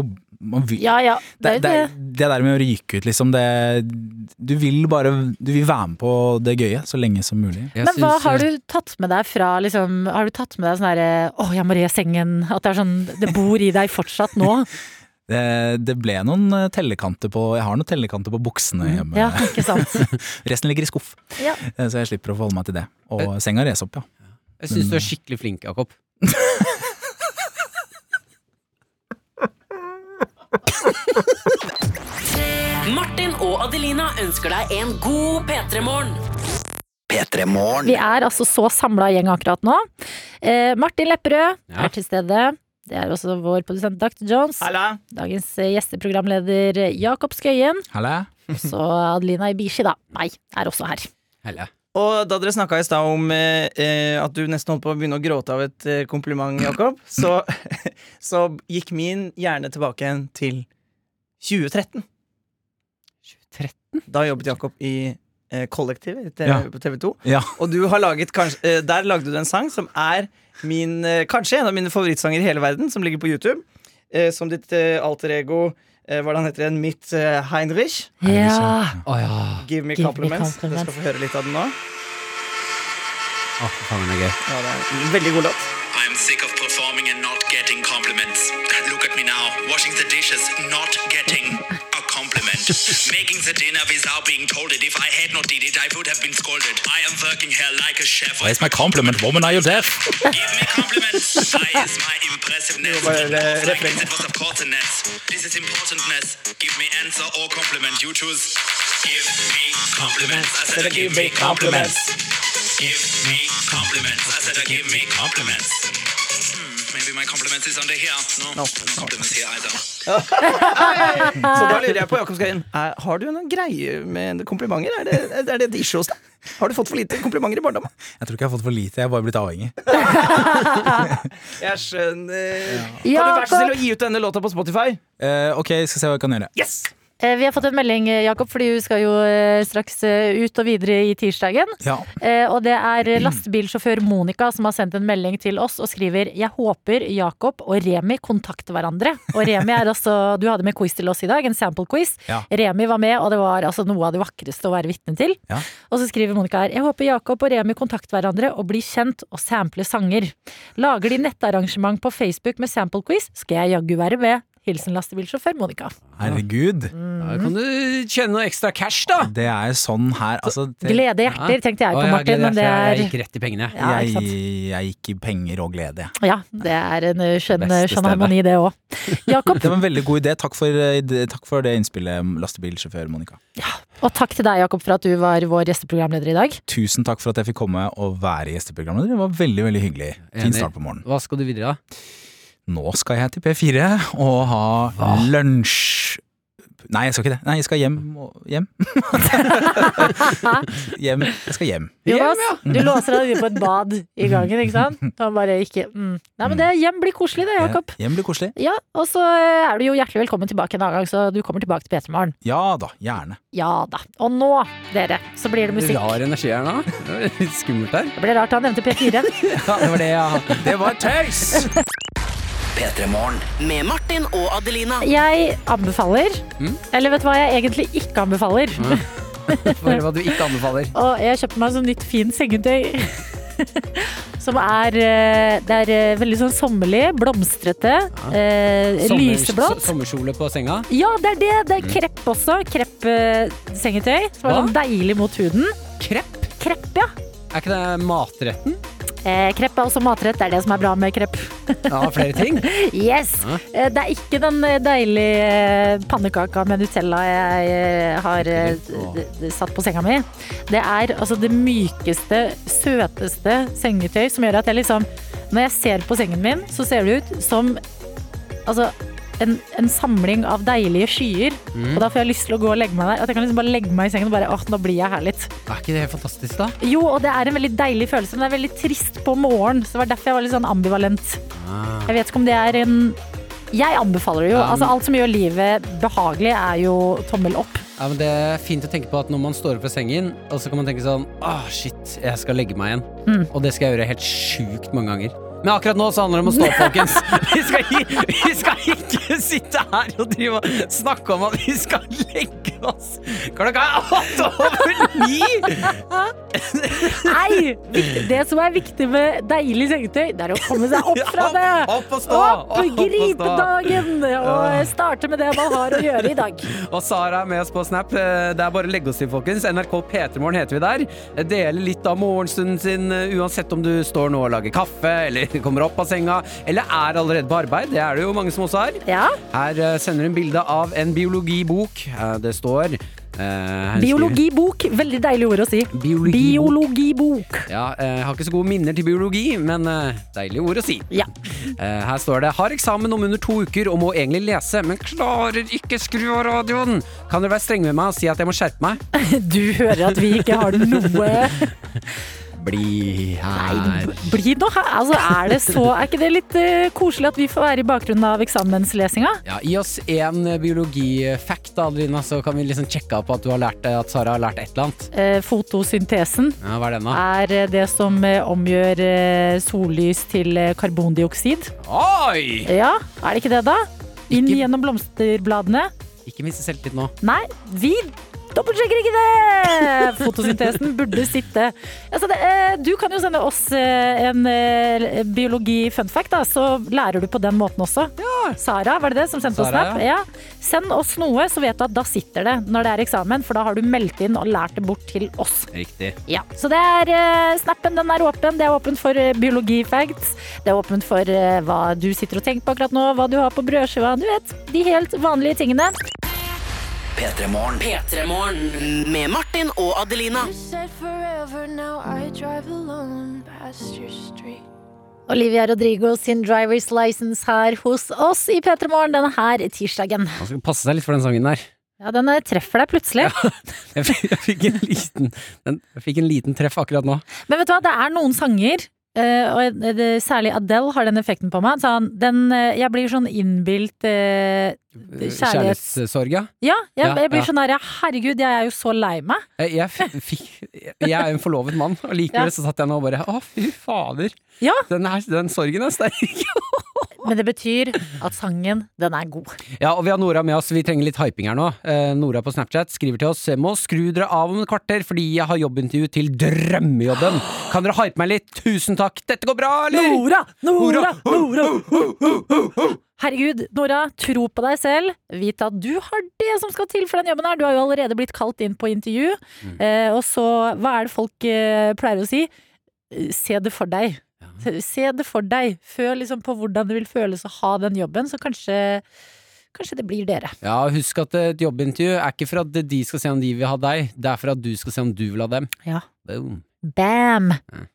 S7: man vil,
S2: Ja ja, det
S7: det,
S2: er jo
S7: det,
S2: det.
S7: det der med å ryke ut, liksom det, Du vil bare Du vil være med på det gøye så lenge som mulig.
S2: Men hva har du tatt med deg fra liksom, Har du tatt med deg sånn herre Å, jeg må re sengen. At det er sånn Det bor i deg fortsatt nå.
S7: Det, det ble noen eh, tellekanter på Jeg har noen tellekanter på buksene hjemme.
S2: Mm, Ja, ikke sant.
S7: Resten ligger i skuff,
S2: Ja. Eh.
S7: eh, så jeg slipper å forholde meg til det. Og senga res opp, ja.
S3: Jeg syns du er skikkelig flink, Jakob.
S4: Martin og Adelina ønsker deg en god P3-morgen.
S2: Vi er altså så samla gjeng akkurat nå. Eh, Martin Lepperød
S4: Ja.
S2: er til stede. Det er også vår produsent Dr. Jones. Dagens eh, gjesteprogramleder eh, Jakob Skøyen. Så Adelina Ibishi, da. Meg er også her.
S5: Og da dere snakka i stad om eh, eh, at du nesten holdt på å begynne å gråte av et eh, kompliment, Jakob, så, så gikk min hjerne tilbake igjen til 2013.
S3: 2013?
S5: Da jobbet Jakob i eh, Kollektivet i
S7: Ja.
S5: TV, på TV 2.
S7: Ja.
S5: Og du har laget kanskje, eh, der lagde du en sang som er min, eh, kanskje en av mine favorittsanger i hele verden, som ligger på YouTube. Eh, som ditt eh, alter ego eh, Hva er det han heter igjen? Mitt eh, Heinrich.
S2: Ja.
S3: Å ja.
S5: Give me
S2: Give me
S5: compliments. Dere skal få høre litt av den nå.
S3: Å, fy faen, det er gøy.
S5: Ja, det er en veldig god låt.
S13: I'm sick of performing and not getting compliments. Look at me now, washing the dishes, not getting a compliment. Making the dinner without being told it. If I had not did it, I would have been scolded. I am working here like a chef.
S7: Where's my compliment, woman? Are you deaf?
S13: Give me compliments. I is my impressiveness.
S5: eh,
S13: It was of course a ness. This is importantness. Give me answer or compliment. You choose. Give me compliments. I said, give me compliments. Give me compliments. I said, give me compliments. Hmm, maybe my compliments is under here. No, no, compliments here either.
S5: Så da lurer jeg på, Jakob Skøyen, er- har du en greie med komplimenter? Er det, er det et issue hos deg? Har du fått for lite komplimenter i barndommen?
S7: Jeg tror ikke jeg har fått for lite, jeg har bare blitt avhengig.
S5: Jeg skjønner. Kan du
S2: Jakob!
S5: være så snill å gi ut denne låta på Spotify?
S7: Eh, ok, skal se hva jeg kan gjøre.
S2: Eh, Vi har fått en melding, eh, Jakob, fordi hun skal jo eh, straks eh, ut og videre i tirsdagen.
S7: Ja.
S2: Eh, Og det er lastebilsjåfør Monica som har sendt en melding til oss og skriver Jeg håper Jakob og Remi kontakter hverandre. Og Remi er altså Du hadde med quiz til oss i dag, en sample quiz.
S7: Ja.
S2: Remi var med, og det var altså noe av det vakreste å være vitne til.
S7: Ja.
S2: Og så skriver Monica her Jeg håper Jakob og Remi kontakter hverandre og blir kjent og sampler sanger. Lager de nettarrangement på Facebook med sample quiz, skal jeg jaggu være med. Hilsen lastebilsjåfør Monica.
S7: Herregud.
S2: Mm.
S3: Da kan du tjene noe ekstra cash, da.
S7: Det er sånn her altså, det-
S2: Glede i hjerter, tenkte jeg på,
S7: Å, ja,
S2: Martin,
S7: glede i
S2: men det
S7: hjerter.
S2: er
S7: Jeg
S3: gikk rett i pengene.
S2: Ja, ikke
S7: jeg,
S2: sant.
S7: jeg gikk i penger og glede, jeg.
S2: Ja, det er en eh, skjønn,
S7: Beste
S2: skjønn
S7: stedet.
S2: harmoni, det òg. Jakob,
S7: Det var en veldig god idé. Takk for, eh, ide- takk for det innspillet, lastebilsjåfør Monica.
S2: og takk til deg, Jakob, for at du var vår gjesteprogramleder i dag.
S7: Tusen takk for at jeg fikk komme og være gjesteprogramleder. Det var veldig veldig hyggelig. Fin
S3: Enig.
S7: start på morgenen.
S3: Hva skal du videre, da?
S7: Nå skal jeg til P4 og ha lunsj. Nei, jeg skal ikke det. Nei, jeg skal hjem. og- Hjem. hjem. Jeg skal hjem.
S2: Jonas, du låser deg inne på et bad i gangen, ikke sant? Han bare ikke mm. Nei, men det hjem blir koselig, det, Jakob.
S7: Hjem blir koselig.
S2: Ja, og så eh, er du jo hjertelig velkommen tilbake en annen gang, så du kommer tilbake til P3 Morgen.
S7: Ja da, gjerne.
S2: Ja da. Og nå, dere, så blir det musikk.
S3: Rar energi her nå. Det var Litt skummelt her.
S2: Det ble rart han nevnte P4.
S3: Ja, det var det, ja. Det var tøys!
S4: Med Martin og Adelina.
S2: Jeg anbefaler, eller vet du hva jeg egentlig ikke anbefaler?
S3: For hva du ikke anbefaler.
S2: Og jeg kjøpte meg sånn nytt fint sengetøy. Som er eh, Det er eh, veldig sånn sommerlig, blomstrete, eh,
S3: Sommer-
S2: lyseblått.
S3: so- Sommerkjole på senga.
S2: Ja, det er det! Det er krepp også. Krepp eh, sengetøy. Som er
S3: Hva?
S2: sånn deilig mot huden.
S3: Krepp?
S2: Krepp, ja.
S3: Er ikke det matretten?
S2: Eh, krepp er også matrett. Det er det som er bra med krepp.
S3: Ja, flere ting.
S2: Yes!
S3: Ja.
S2: Eh, Det er ikke den eh, deilige eh, pannekaka med Nutella jeg eh, har eh, d- d- satt på senga mi. Det er altså det mykeste, søteste sengetøy som gjør at jeg liksom Når jeg ser på sengen min, så ser det ut som altså, en, en samling av deilige skyer.
S3: Mm.
S2: Og da får jeg lyst til å gå og legge meg der. At jeg kan liksom bare legge meg i sengen og bare åh, nå blir jeg her litt.
S3: Er ikke det helt fantastisk, da?
S2: Jo, og det er en veldig deilig følelse, men det er veldig trist på morgenen. Så det var derfor jeg var litt sånn ambivalent. Jeg vet ikke om det er en Jeg anbefaler det jo.
S3: Ah. Ja, men-
S2: Altså, alt som gjør livet behagelig, er jo tommel opp.
S3: Ja, men Det er fint å tenke på at når man står opp fra sengen, og så kan man tenke sånn Åh, shit, jeg skal legge meg igjen.
S2: Mm.
S3: Og det skal jeg gjøre helt sjukt mange ganger. Men akkurat nå så handler det om å stå opp, folkens. Vi skal, i- vi skal ikke sitte her og drive og snakke om at vi skal legge oss klokka er åtte over ni!
S2: Nei! viktig- Det som er viktig med deilig sengetøy, det er å komme seg opp fra det.
S3: Opp og stå!
S2: Opp, gripe dagen
S3: Ja.
S2: og starte med det man har å gjøre i dag.
S3: Og Sara er med oss på Snap. Eh, Det er bare å legge oss til, folkens. NRK P3morgen heter vi der. Eh, Dele litt av morgenstunden sin, eh, uansett om du står nå og lager kaffe, eller kommer opp av senga, eller er allerede på arbeid. Det er det jo mange som også er. Her eh, sender hun bilde av en biologibok. Eh, Det står eh, her
S2: Biologibok. Veldig deilig ord å si.
S3: Biologibok.
S2: Biologibok.
S3: skriver- Ja, eh, jeg har ikke så gode minner til biologi, men eh, deilig ord å si.
S2: Ja.
S3: Eh, Her står det Har eksamen om under to uker og må egentlig lese, men klarer ikke skru av radioen. Kan dere være strenge med meg og si at jeg må skjerpe meg?
S2: Du hører at vi ikke har noe
S3: Bli her.
S2: Bli nå her. Altså, er det så Er ikke det litt eh, koselig at vi får være i bakgrunnen av eksamenslesinga?
S3: Ja, gi oss én biologifact, da, Adelina, så kan vi liksom sjekke opp at, du har lært, at Sara har lært et eller annet.
S2: Eh, fotosyntesen
S3: Ja, hva er den, da?
S2: er eh, det som eh, omgjør eh, sollys til eh, karbondioksid.
S3: Oi!
S2: Ja, er det ikke det, da? Inn gjennom blomsterbladene.
S3: Ikke miste selvtillit nå.
S2: Nei, vi dobbeltsjekker ikke det! Fotosyntesen burde sitte. Altså, det, eh, du kan jo sende oss eh, en eh, biologi-funfact, da, så lærer du på den måten også. Sara, var det det som sendte
S3: Sara,
S2: oss snap?
S3: ja.
S2: Ja. Send oss noe, så vet du at da sitter det når det er eksamen, for da har du meldt inn og lært det bort til oss.
S3: Riktig.
S2: Ja, så det er eh, snappen, den er åpen. Det er åpen for eh, biologifacts. Det er åpen for eh, hva du sitter og tenker på akkurat nå, hva du har på brødskiva, du vet. De helt vanlige tingene.
S4: P3morgen med Martin og Adelina.
S2: Olivia Rodrigo sin driver's license her hos oss i P3 Morgen denne her tirsdagen.
S3: Man skal passe seg litt for den sangen der.
S2: Ja, den eh, treffer deg plutselig.
S3: Jeg fikk, jeg fikk, en, liten, den, jeg fikk en liten treff akkurat nå.
S2: Men vet du hva, det er noen sanger, eh, og det, særlig Adele har den effekten på meg. Så han, den, eh, jeg blir sånn innbilt eh, kjærlighets...
S3: Kjærlighetssorg, ja.
S2: Ja, jeg,
S3: Ja,
S2: jeg blir
S3: ja.
S2: sånn der, ja, herregud, jeg er jo så lei meg.
S3: Eh, Jeg, jeg, f- fikk, jeg er en forlovet mann, og likevel
S2: Ja.
S3: så satt jeg nå og bare Å, fy fader.
S2: Ja.
S3: Den, her, den sorgen er sterk.
S2: Men det betyr at sangen, den er god.
S3: Ja, og vi har Nora med oss. Vi trenger litt hyping her nå. Eh, Nora på Snapchat skriver til oss Må skru dere av om et kvarter fordi jeg har jobbintervju til drømmejobben. Kan dere hype meg litt? Tusen takk. Dette går bra, eller?
S2: Nora! Nora! Nora! Herregud, Nora, tro på deg selv. Vit at du har det som skal til for den jobben her. Du har jo allerede blitt kalt inn på intervju. Eh, og så, hva er det folk eh, pleier å si? Eh, Se det for deg. Se- Se det for deg. Føl liksom på hvordan det vil føles å ha den jobben, så kanskje, kanskje det blir dere.
S3: Ja, husk at eh, et jobbintervju er ikke for at de skal se om de vil ha deg, det er for at du skal se om du vil ha dem.
S2: Ja.
S3: Boom.
S2: Bam!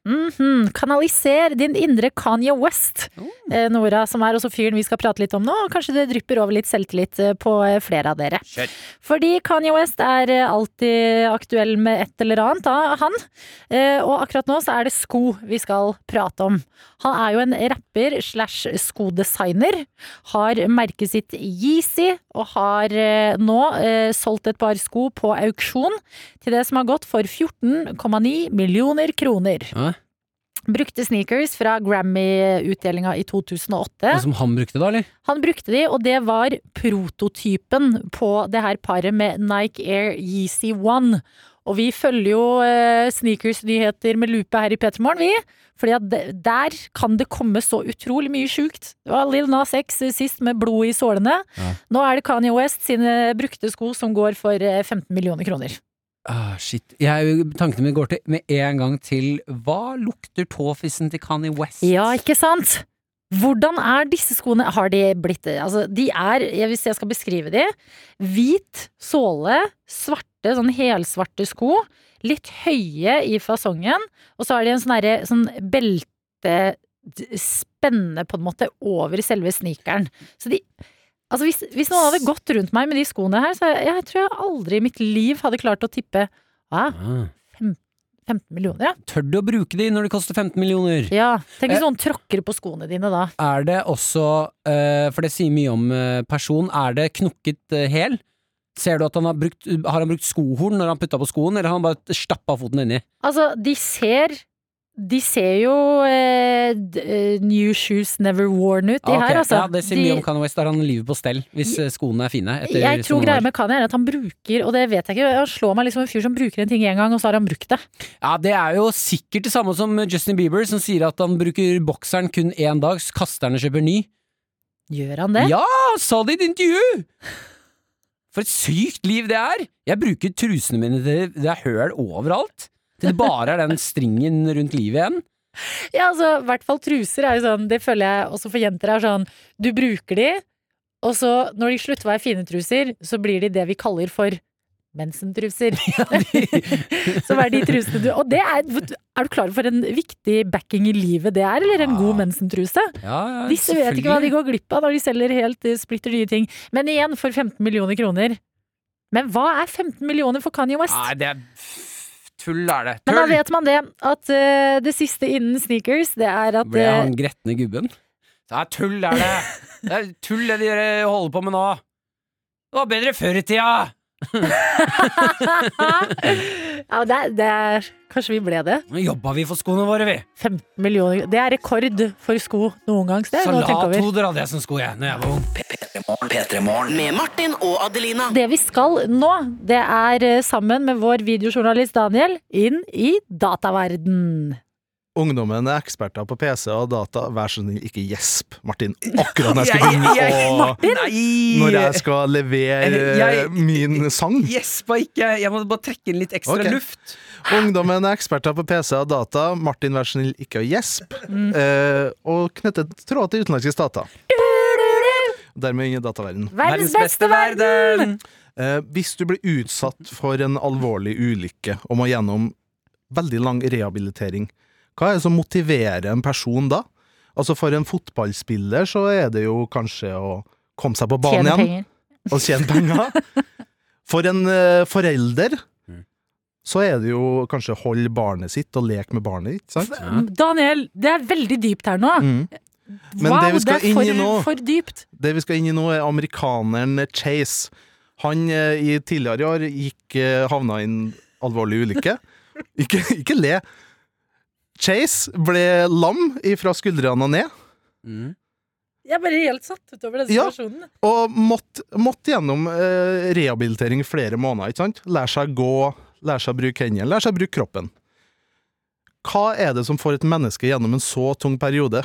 S2: Mhm. Kanaliser din indre Kanye West, eh, Nora, som er også fyren vi skal prate litt om nå. og Kanskje det drypper over litt selvtillit eh, på eh, flere av dere. Fordi Kanye West er eh, alltid aktuell med et eller annet, da, han. Eh, Og akkurat nå så er det sko vi skal prate om. Han er jo en rapper slash skodesigner. Har merket sitt Yeezy, og har eh, nå eh, solgt et par sko på auksjon til det som har gått for 14,9 millioner kroner.
S3: Hæ?
S2: Brukte sneakers fra Grammy-utdelinga i 2008.
S3: Noe som han brukte da, eller?
S2: Han brukte de, og det var prototypen på det her paret med Nike Air Yeezy One. Og vi følger jo eh, sneakers-nyheter med lupe her i Petermorgen, vi. Fordi at de- der kan det komme så utrolig mye sjukt. Det var Lil Nas X sist med blod i sålene. Nå er det Kanye West sine brukte sko som går for eh, 15 millioner kroner.
S3: Ah, shit. Jeg, tankene mine går til, med en gang til hva lukter tåfissen til Kanye West?
S2: Ja, ikke sant? Hvordan er disse skoene? Har de blitt det? Altså, de er, jeg- hvis jeg skal beskrive de, hvit såle, svarte, sånn helsvarte sko, litt høye i fasongen, og så har de en sånn herre- sånn belte d- spenne på en måte over selve sneakeren. Så de Altså hvis, hvis noen hadde gått rundt meg med de skoene her, så jeg, jeg tror jeg aldri i mitt liv hadde klart å tippe ah,
S3: Ah.
S2: 15 millioner, ja.
S3: Tør du å bruke de når det koster 15 millioner?
S2: ja. Tenk hvis
S3: Eh.
S2: noen tråkker på skoene dine da.
S3: Er det også, eh, for det sier mye om eh, person, er det knokket eh, hæl? Ser du at han har brukt, har han brukt skohorn når han putta på skoen, eller har han bare stappa foten inni?
S2: Altså, de ser De ser jo eh, d- eh, New Shoes Never Worn ut, de
S3: Ah, ok.
S2: her, altså.
S3: Ja, det sier
S2: de,
S3: mye om Kanye West, da har han livet på stell hvis eh, skoene er fine. etter
S2: jeg
S3: så
S2: tror
S3: mange år.
S2: greia med Kanye er at han bruker, og det vet jeg ikke, han slår meg liksom en fyr som bruker en ting en gang, og så har han brukt det.
S3: Ja, det er jo sikkert det samme som Justin Bieber, som sier at han bruker bokseren kun én dag, så kaster han og kjøper ny.
S2: Gjør han det?
S3: Ja, sa det i et intervju! For et sykt liv det er! Jeg bruker trusene mine til det er høl overalt. Til det bare er den stringen rundt livet igjen.
S2: Ja, altså, i hvert fall truser er jo sånn, det føler jeg også for jenter er sånn, du bruker de, og så når de slutter å være fine truser, så blir de det vi kaller for mensentruser. Som er de trusene du Og det er, er du klar for en viktig backing i livet det er, eller en god mensentruse?
S3: Ah. Ja, ja,
S2: Disse vet ikke hva de
S3: selvfølgelig.
S2: går glipp av når de selger helt eh, splitter nye ting. Men igjen, for 15 millioner kroner. Men hva er 15 millioner for Kanye West?
S3: Nei, det er tull, er det.
S2: Men da
S3: Tull!
S2: vet man det, at eh, det siste innen sneakers, det er at
S3: Ble
S2: eh,
S3: han gretne gubben? Det er tull, er det! Det er tull det de eh, holder på med nå! Det var bedre før i tida!
S2: ja, det, er- det er Kanskje vi ble det?
S3: Nå jobba vi for skoene våre, vi!
S2: 15 millioner Det er rekord for sko noen gang. så Det er noe å tenke over.
S3: Salathoder hadde jeg som sko, jeg, når jeg var ung.
S4: Med Martin og Adelina.
S2: Det vi skal nå, det er eh, sammen med vår videojournalist Daniel inn i dataverden.
S9: Ungdommen er eksperter på PC og data. Vær så snill, ikke gjesp, Martin. Akkurat når jeg skal
S3: Jeg-
S9: begynne
S3: jeg-
S9: å
S3: Nei!
S9: Når jeg skal levere
S3: Jeg-
S9: min sang.
S3: Gjespa ikke, jeg må bare trekke inn litt ekstra
S9: Ok.
S3: luft.
S9: Ungdommen er eksperter på PC og data. Martin, vær så snill, ikke å gjesp.
S3: Mm.
S9: Eh, og knytte tråder til utenlandske stater. Dermed inn i dataverden.
S2: Verdens beste verden!
S9: Eh, hvis du blir utsatt for en alvorlig ulykke og må gjennom veldig lang rehabilitering, hva er det som motiverer en person da? Altså For en fotballspiller så er det jo kanskje å komme seg på banen
S2: Tjene
S9: igjen og tjene penger. For en eh, forelder så er det jo kanskje å holde barnet sitt og leke med barnet, ikke sant?
S2: Mm, Daniel, det er veldig dypt her nå.
S9: Mm. Men
S2: wow,
S9: det vi skal
S2: er
S9: inn
S2: for,
S9: i nå-
S2: for dypt.
S9: Det vi skal inn i nå, er amerikaneren Chase. Han eh, i tidligere i år gikk, eh, havna i en alvorlig ulykke. Ikke, ikke le. Chase ble lam fra skuldrene og ned,
S2: Jeg er bare helt satt utover den
S9: Ja.
S2: situasjonen.
S9: og måtte, måtte gjennom eh, rehabilitering flere måneder. ikke sant? Lære seg å gå, lære seg å bruke hendene, lære seg å bruke kroppen. Hva er det som får et menneske gjennom en så tung periode?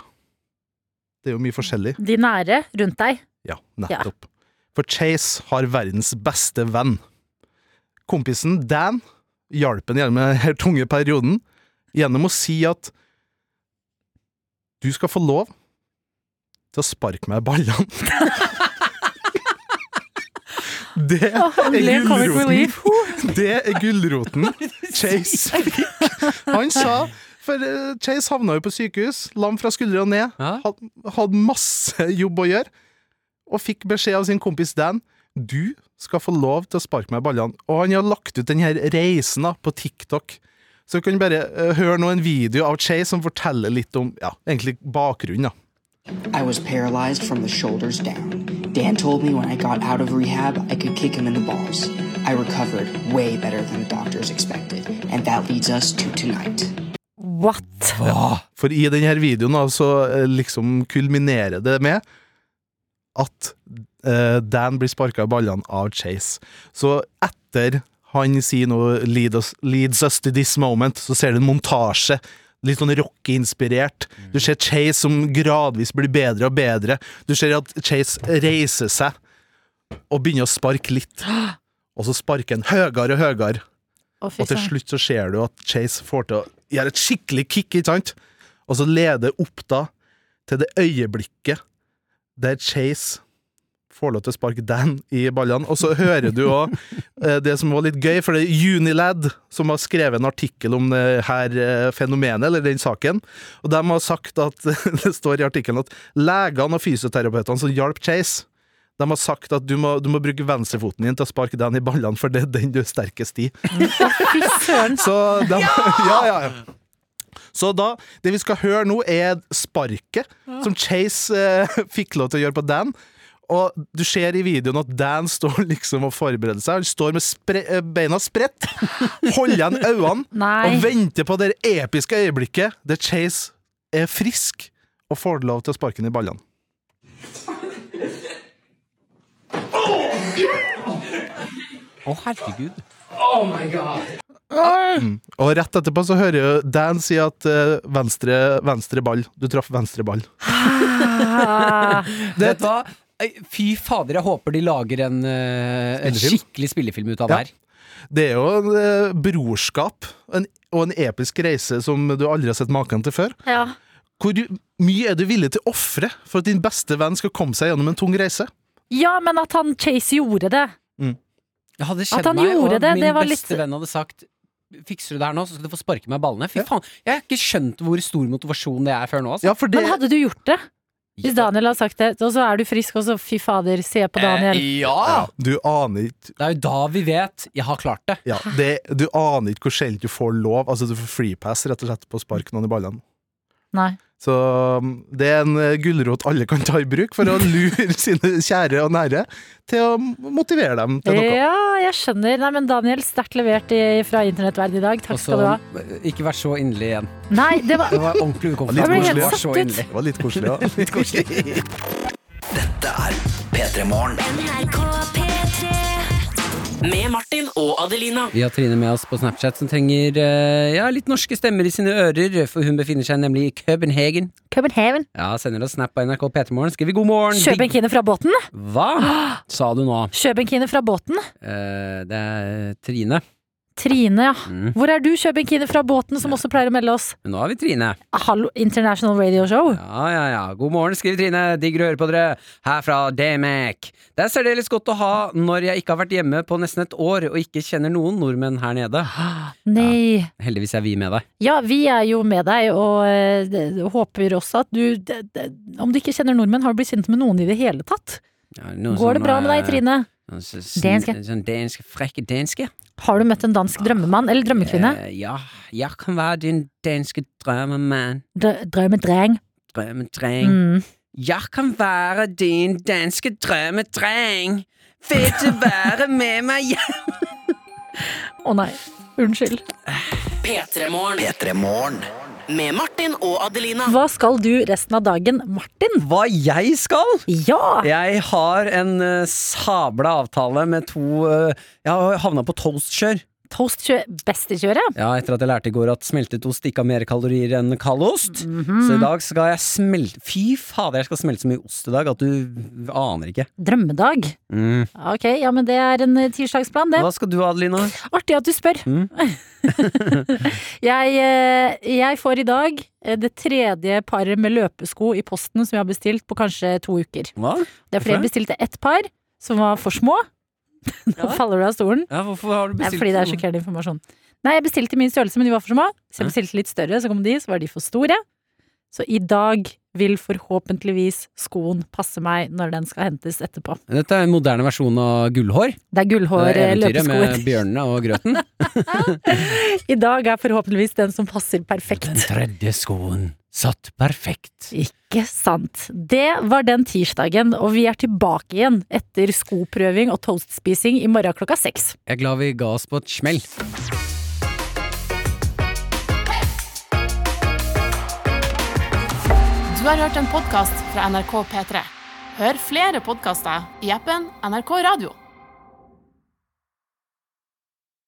S9: Det er jo mye forskjellig.
S2: De nære rundt deg.
S9: Ja, nettopp. For Chase har verdens beste venn. Kompisen Dan hjalp ham gjennom denne tunge perioden gjennom å si at du skal få lov til å sparke meg i ballene. Det er
S2: ble comic relief.
S9: gulroten. Det er gulroten Chase fikk. Han sa For eh, Chase havna jo på sykehus, lam fra skuldra og ned. Had, hadde masse jobb å gjøre. Og fikk beskjed av sin kompis Dan Du skal få lov til å sparke meg i ballene. Og han har lagt ut denne reisen da, på TikTok. Så du kan bare eh, høre nå en video av Chase som forteller litt om ja, egentlig bakgrunnen. da.
S14: I was paralyzed from the shoulders down. Dan told me when I got out of rehab, I could kick him in the balls. I recovered way better than doctors expected, and that leads us to tonight.
S2: What?
S9: Ja, for i denne videoen da, så eh, liksom kulminerer det med at eh, Dan blir sparka i ballene av Chase. Så etter han sier noe lead us, 'leads us to this moment', så ser du en montasje. Litt sånn rockeinspirert. Du ser Chase som gradvis blir bedre og bedre. Du ser at Chase reiser seg og begynner å sparke litt. Og så sparker han høyere og høyere.
S2: Å, fy
S9: Og til
S2: søren.
S9: slutt så ser du at Chase får til å gjøre et skikkelig kick, ikke sant? Og så leder opp da til det øyeblikket der Chase får lov til å sparke Dan i ballene. Og så hører du òg det som var litt gøy, for det er Unilad som har skrevet en artikkel om det her eh, fenomenet, eller den saken. Og de har sagt at det står i artikkelen at legene og fysioterapeutene som hjalp Chase de har sagt at du må, du må bruke venstrefoten din til å sparke den i ballene, for det er den du er sterkest i.
S2: Fy søren.
S9: Så da, ja, ja, ja. Så da, det vi skal høre nå, er sparket som Chase eh, fikk lov til å gjøre på Dan. Og du ser i videoen at Dan står liksom og forbereder seg. Han står med spre eh, beina spredt, holder igjen øynene
S2: Nei.
S9: og venter på det episke øyeblikket der Chase er frisk og får lov til å sparke den i ballene.
S3: Å, herregud.
S13: Oh my god.
S9: Mm. Og rett etterpå så hører jo Dan si at eh, venstre, venstre ball. Du traff venstre ball.
S2: Ah.
S3: Du Vet hva? Fy fader, jeg håper de lager en, eh, en
S9: Spillefilm?
S3: skikkelig spillefilm ut av det her.
S9: Det er jo en eh, brorskap en, og en episk reise som du aldri har sett maken til før.
S2: Ja.
S9: Hvor du- mye er du villig til å ofre for at din beste venn skal komme seg gjennom en tung reise?
S2: ja, men at han Chase gjorde det.
S3: Det hadde
S2: At
S3: skjedd
S2: han
S3: meg, og
S2: gjorde det,
S3: min
S2: det var litt-
S3: beste venn hadde sagt Fikser du det her nå, så skal du få sparke meg i ballene. Fy faen, Jeg har ikke skjønt hvor stor motivasjon det er før nå. Altså.
S2: Men hadde du gjort det? Hvis Daniel har sagt det, og så er du frisk, og så fy fader, se på Daniel.
S3: Eh, ja!
S9: Du aner ikke
S3: Det er jo da vi vet jeg har klart det.
S9: Ja, det, du aner ikke hvor sjelden du får lov. Altså Du får freepass rett og slett på å sparke noen i ballene.
S2: Nei.
S9: Så um, det er en eh, gulrot alle kan ta i bruk for å lure sine kjære og nære til å motivere dem til noe.
S2: Ja, jeg skjønner. Nei, men Daniel, sterkt levert i, fra internettverdenen i dag. Takk
S3: Så
S2: skal du ha.
S3: ikke vær så inderlig igjen.
S2: Nei, det var,
S3: Det var ordentlig
S2: Jeg
S3: ukomfortabelt.
S2: ble helt
S3: Det var
S2: satt
S3: så
S2: ut.
S3: inderlig.
S9: Det var litt koselig, ja.
S3: litt koselig.
S13: Dette er P3 Morgen.
S4: Med Martin og Adelina.
S3: Vi har Trine med oss på Snapchat som trenger eh, ja, litt norske stemmer i sine ører, for hun befinner seg nemlig i Københagen.
S2: Copenhagen.
S3: Ja, sender oss snap på NRK P3morgen. Skriver god morgen.
S2: Kjøp en kine fra båten.
S3: Mm. Hva sa du nå?
S2: Kjøp en kine fra båten.
S3: Eh, det er Trine.
S2: Trine, ja.
S3: Mm.
S2: Hvor er du, Kjøp en kine fra båten, som også pleier å melde oss?
S3: Men nå har vi Trine.
S2: Hallo, International Radio Show.
S3: Ja, ja, ja. God morgen, skriver Trine. Digger å høre på dere. Her fra Demek. Det er særdeles godt å ha når jeg ikke har vært hjemme på nesten et år og ikke kjenner noen nordmenn her nede.
S2: Nei.
S3: Heldigvis er vi med deg.
S2: Ja, vi er jo med deg, og eh, det- det- håper også at du det- det- Om du ikke kjenner nordmenn, har du blitt kjent med noen i det hele tatt?
S3: Ja, noen
S2: Går det
S3: som,
S2: bra med deg,
S3: eh,
S2: Trine?
S3: noen som-
S2: Danske.
S3: Sånn danske, frekke danske.
S2: Har du møtt en dansk drømmemann eller drømmekvinne?
S3: Eh, ja, jeg kan være din danske drømmemann.
S2: Drø- Drømmedreng.
S3: Drømmedreng.
S2: Mm.
S3: Jeg kan være din danske drømmedreng. Vil du være med meg hjem?
S2: Å nei, unnskyld.
S4: P3 Morgen. Med Martin og Adelina.
S2: Hva skal du resten av dagen, Martin?
S3: Hva jeg skal?
S2: Ja!
S3: Jeg har en eh, sabla avtale med to eh, Jeg har havna på toastkjør.
S2: toast kjø best i kjøret.
S3: Ja, etter at jeg lærte i går at smeltetost ikke har mer kalorier enn kaldost. Så i dag skal jeg smelte Fy fader, jeg skal smelte så mye ost i dag at du aner ikke.
S2: Drømmedag.
S3: Mm.
S2: Ok, ja, men det er en eh, tirsdagsplan, det.
S3: Hva skal du, Adelina?
S2: Artig at du spør.
S3: Mm.
S2: Jeg, eh, jeg får i dag eh, det tredje paret med løpesko i posten som jeg har bestilt på kanskje to uker.
S3: Hva?
S2: Det er fordi jeg bestilte ett par som var for små. Nå faller du av stolen.
S3: Ja, hvorfor har du
S2: Nei,
S3: bestilt
S2: fordi det er
S3: sånn?
S2: sjokkerende informasjon. Nei, jeg bestilte min størrelse, men de var for små. Så jeg bestilte litt større, så kom de, så var de for store. Så i dag vil forhåpentligvis skoen passe meg når den skal hentes etterpå.
S3: Dette er en moderne versjon av gullhår.
S2: Det er
S3: Det
S2: gullhår, eh,
S3: er eventyret med
S2: løpeskoer.
S3: bjørnene og grøten.
S2: I dag er forhåpentligvis den som passer perfekt.
S3: Tredje skoen satt perfekt.
S2: Ikke sant. Det var den tirsdagen, og vi er tilbake igjen etter skoprøving og toastspising i morgen klokka seks.
S3: Jeg er glad vi ga oss på et smell.
S15: Du har hørt en podkast fra NRK P3. Hør flere podkaster i appen NRK Radio.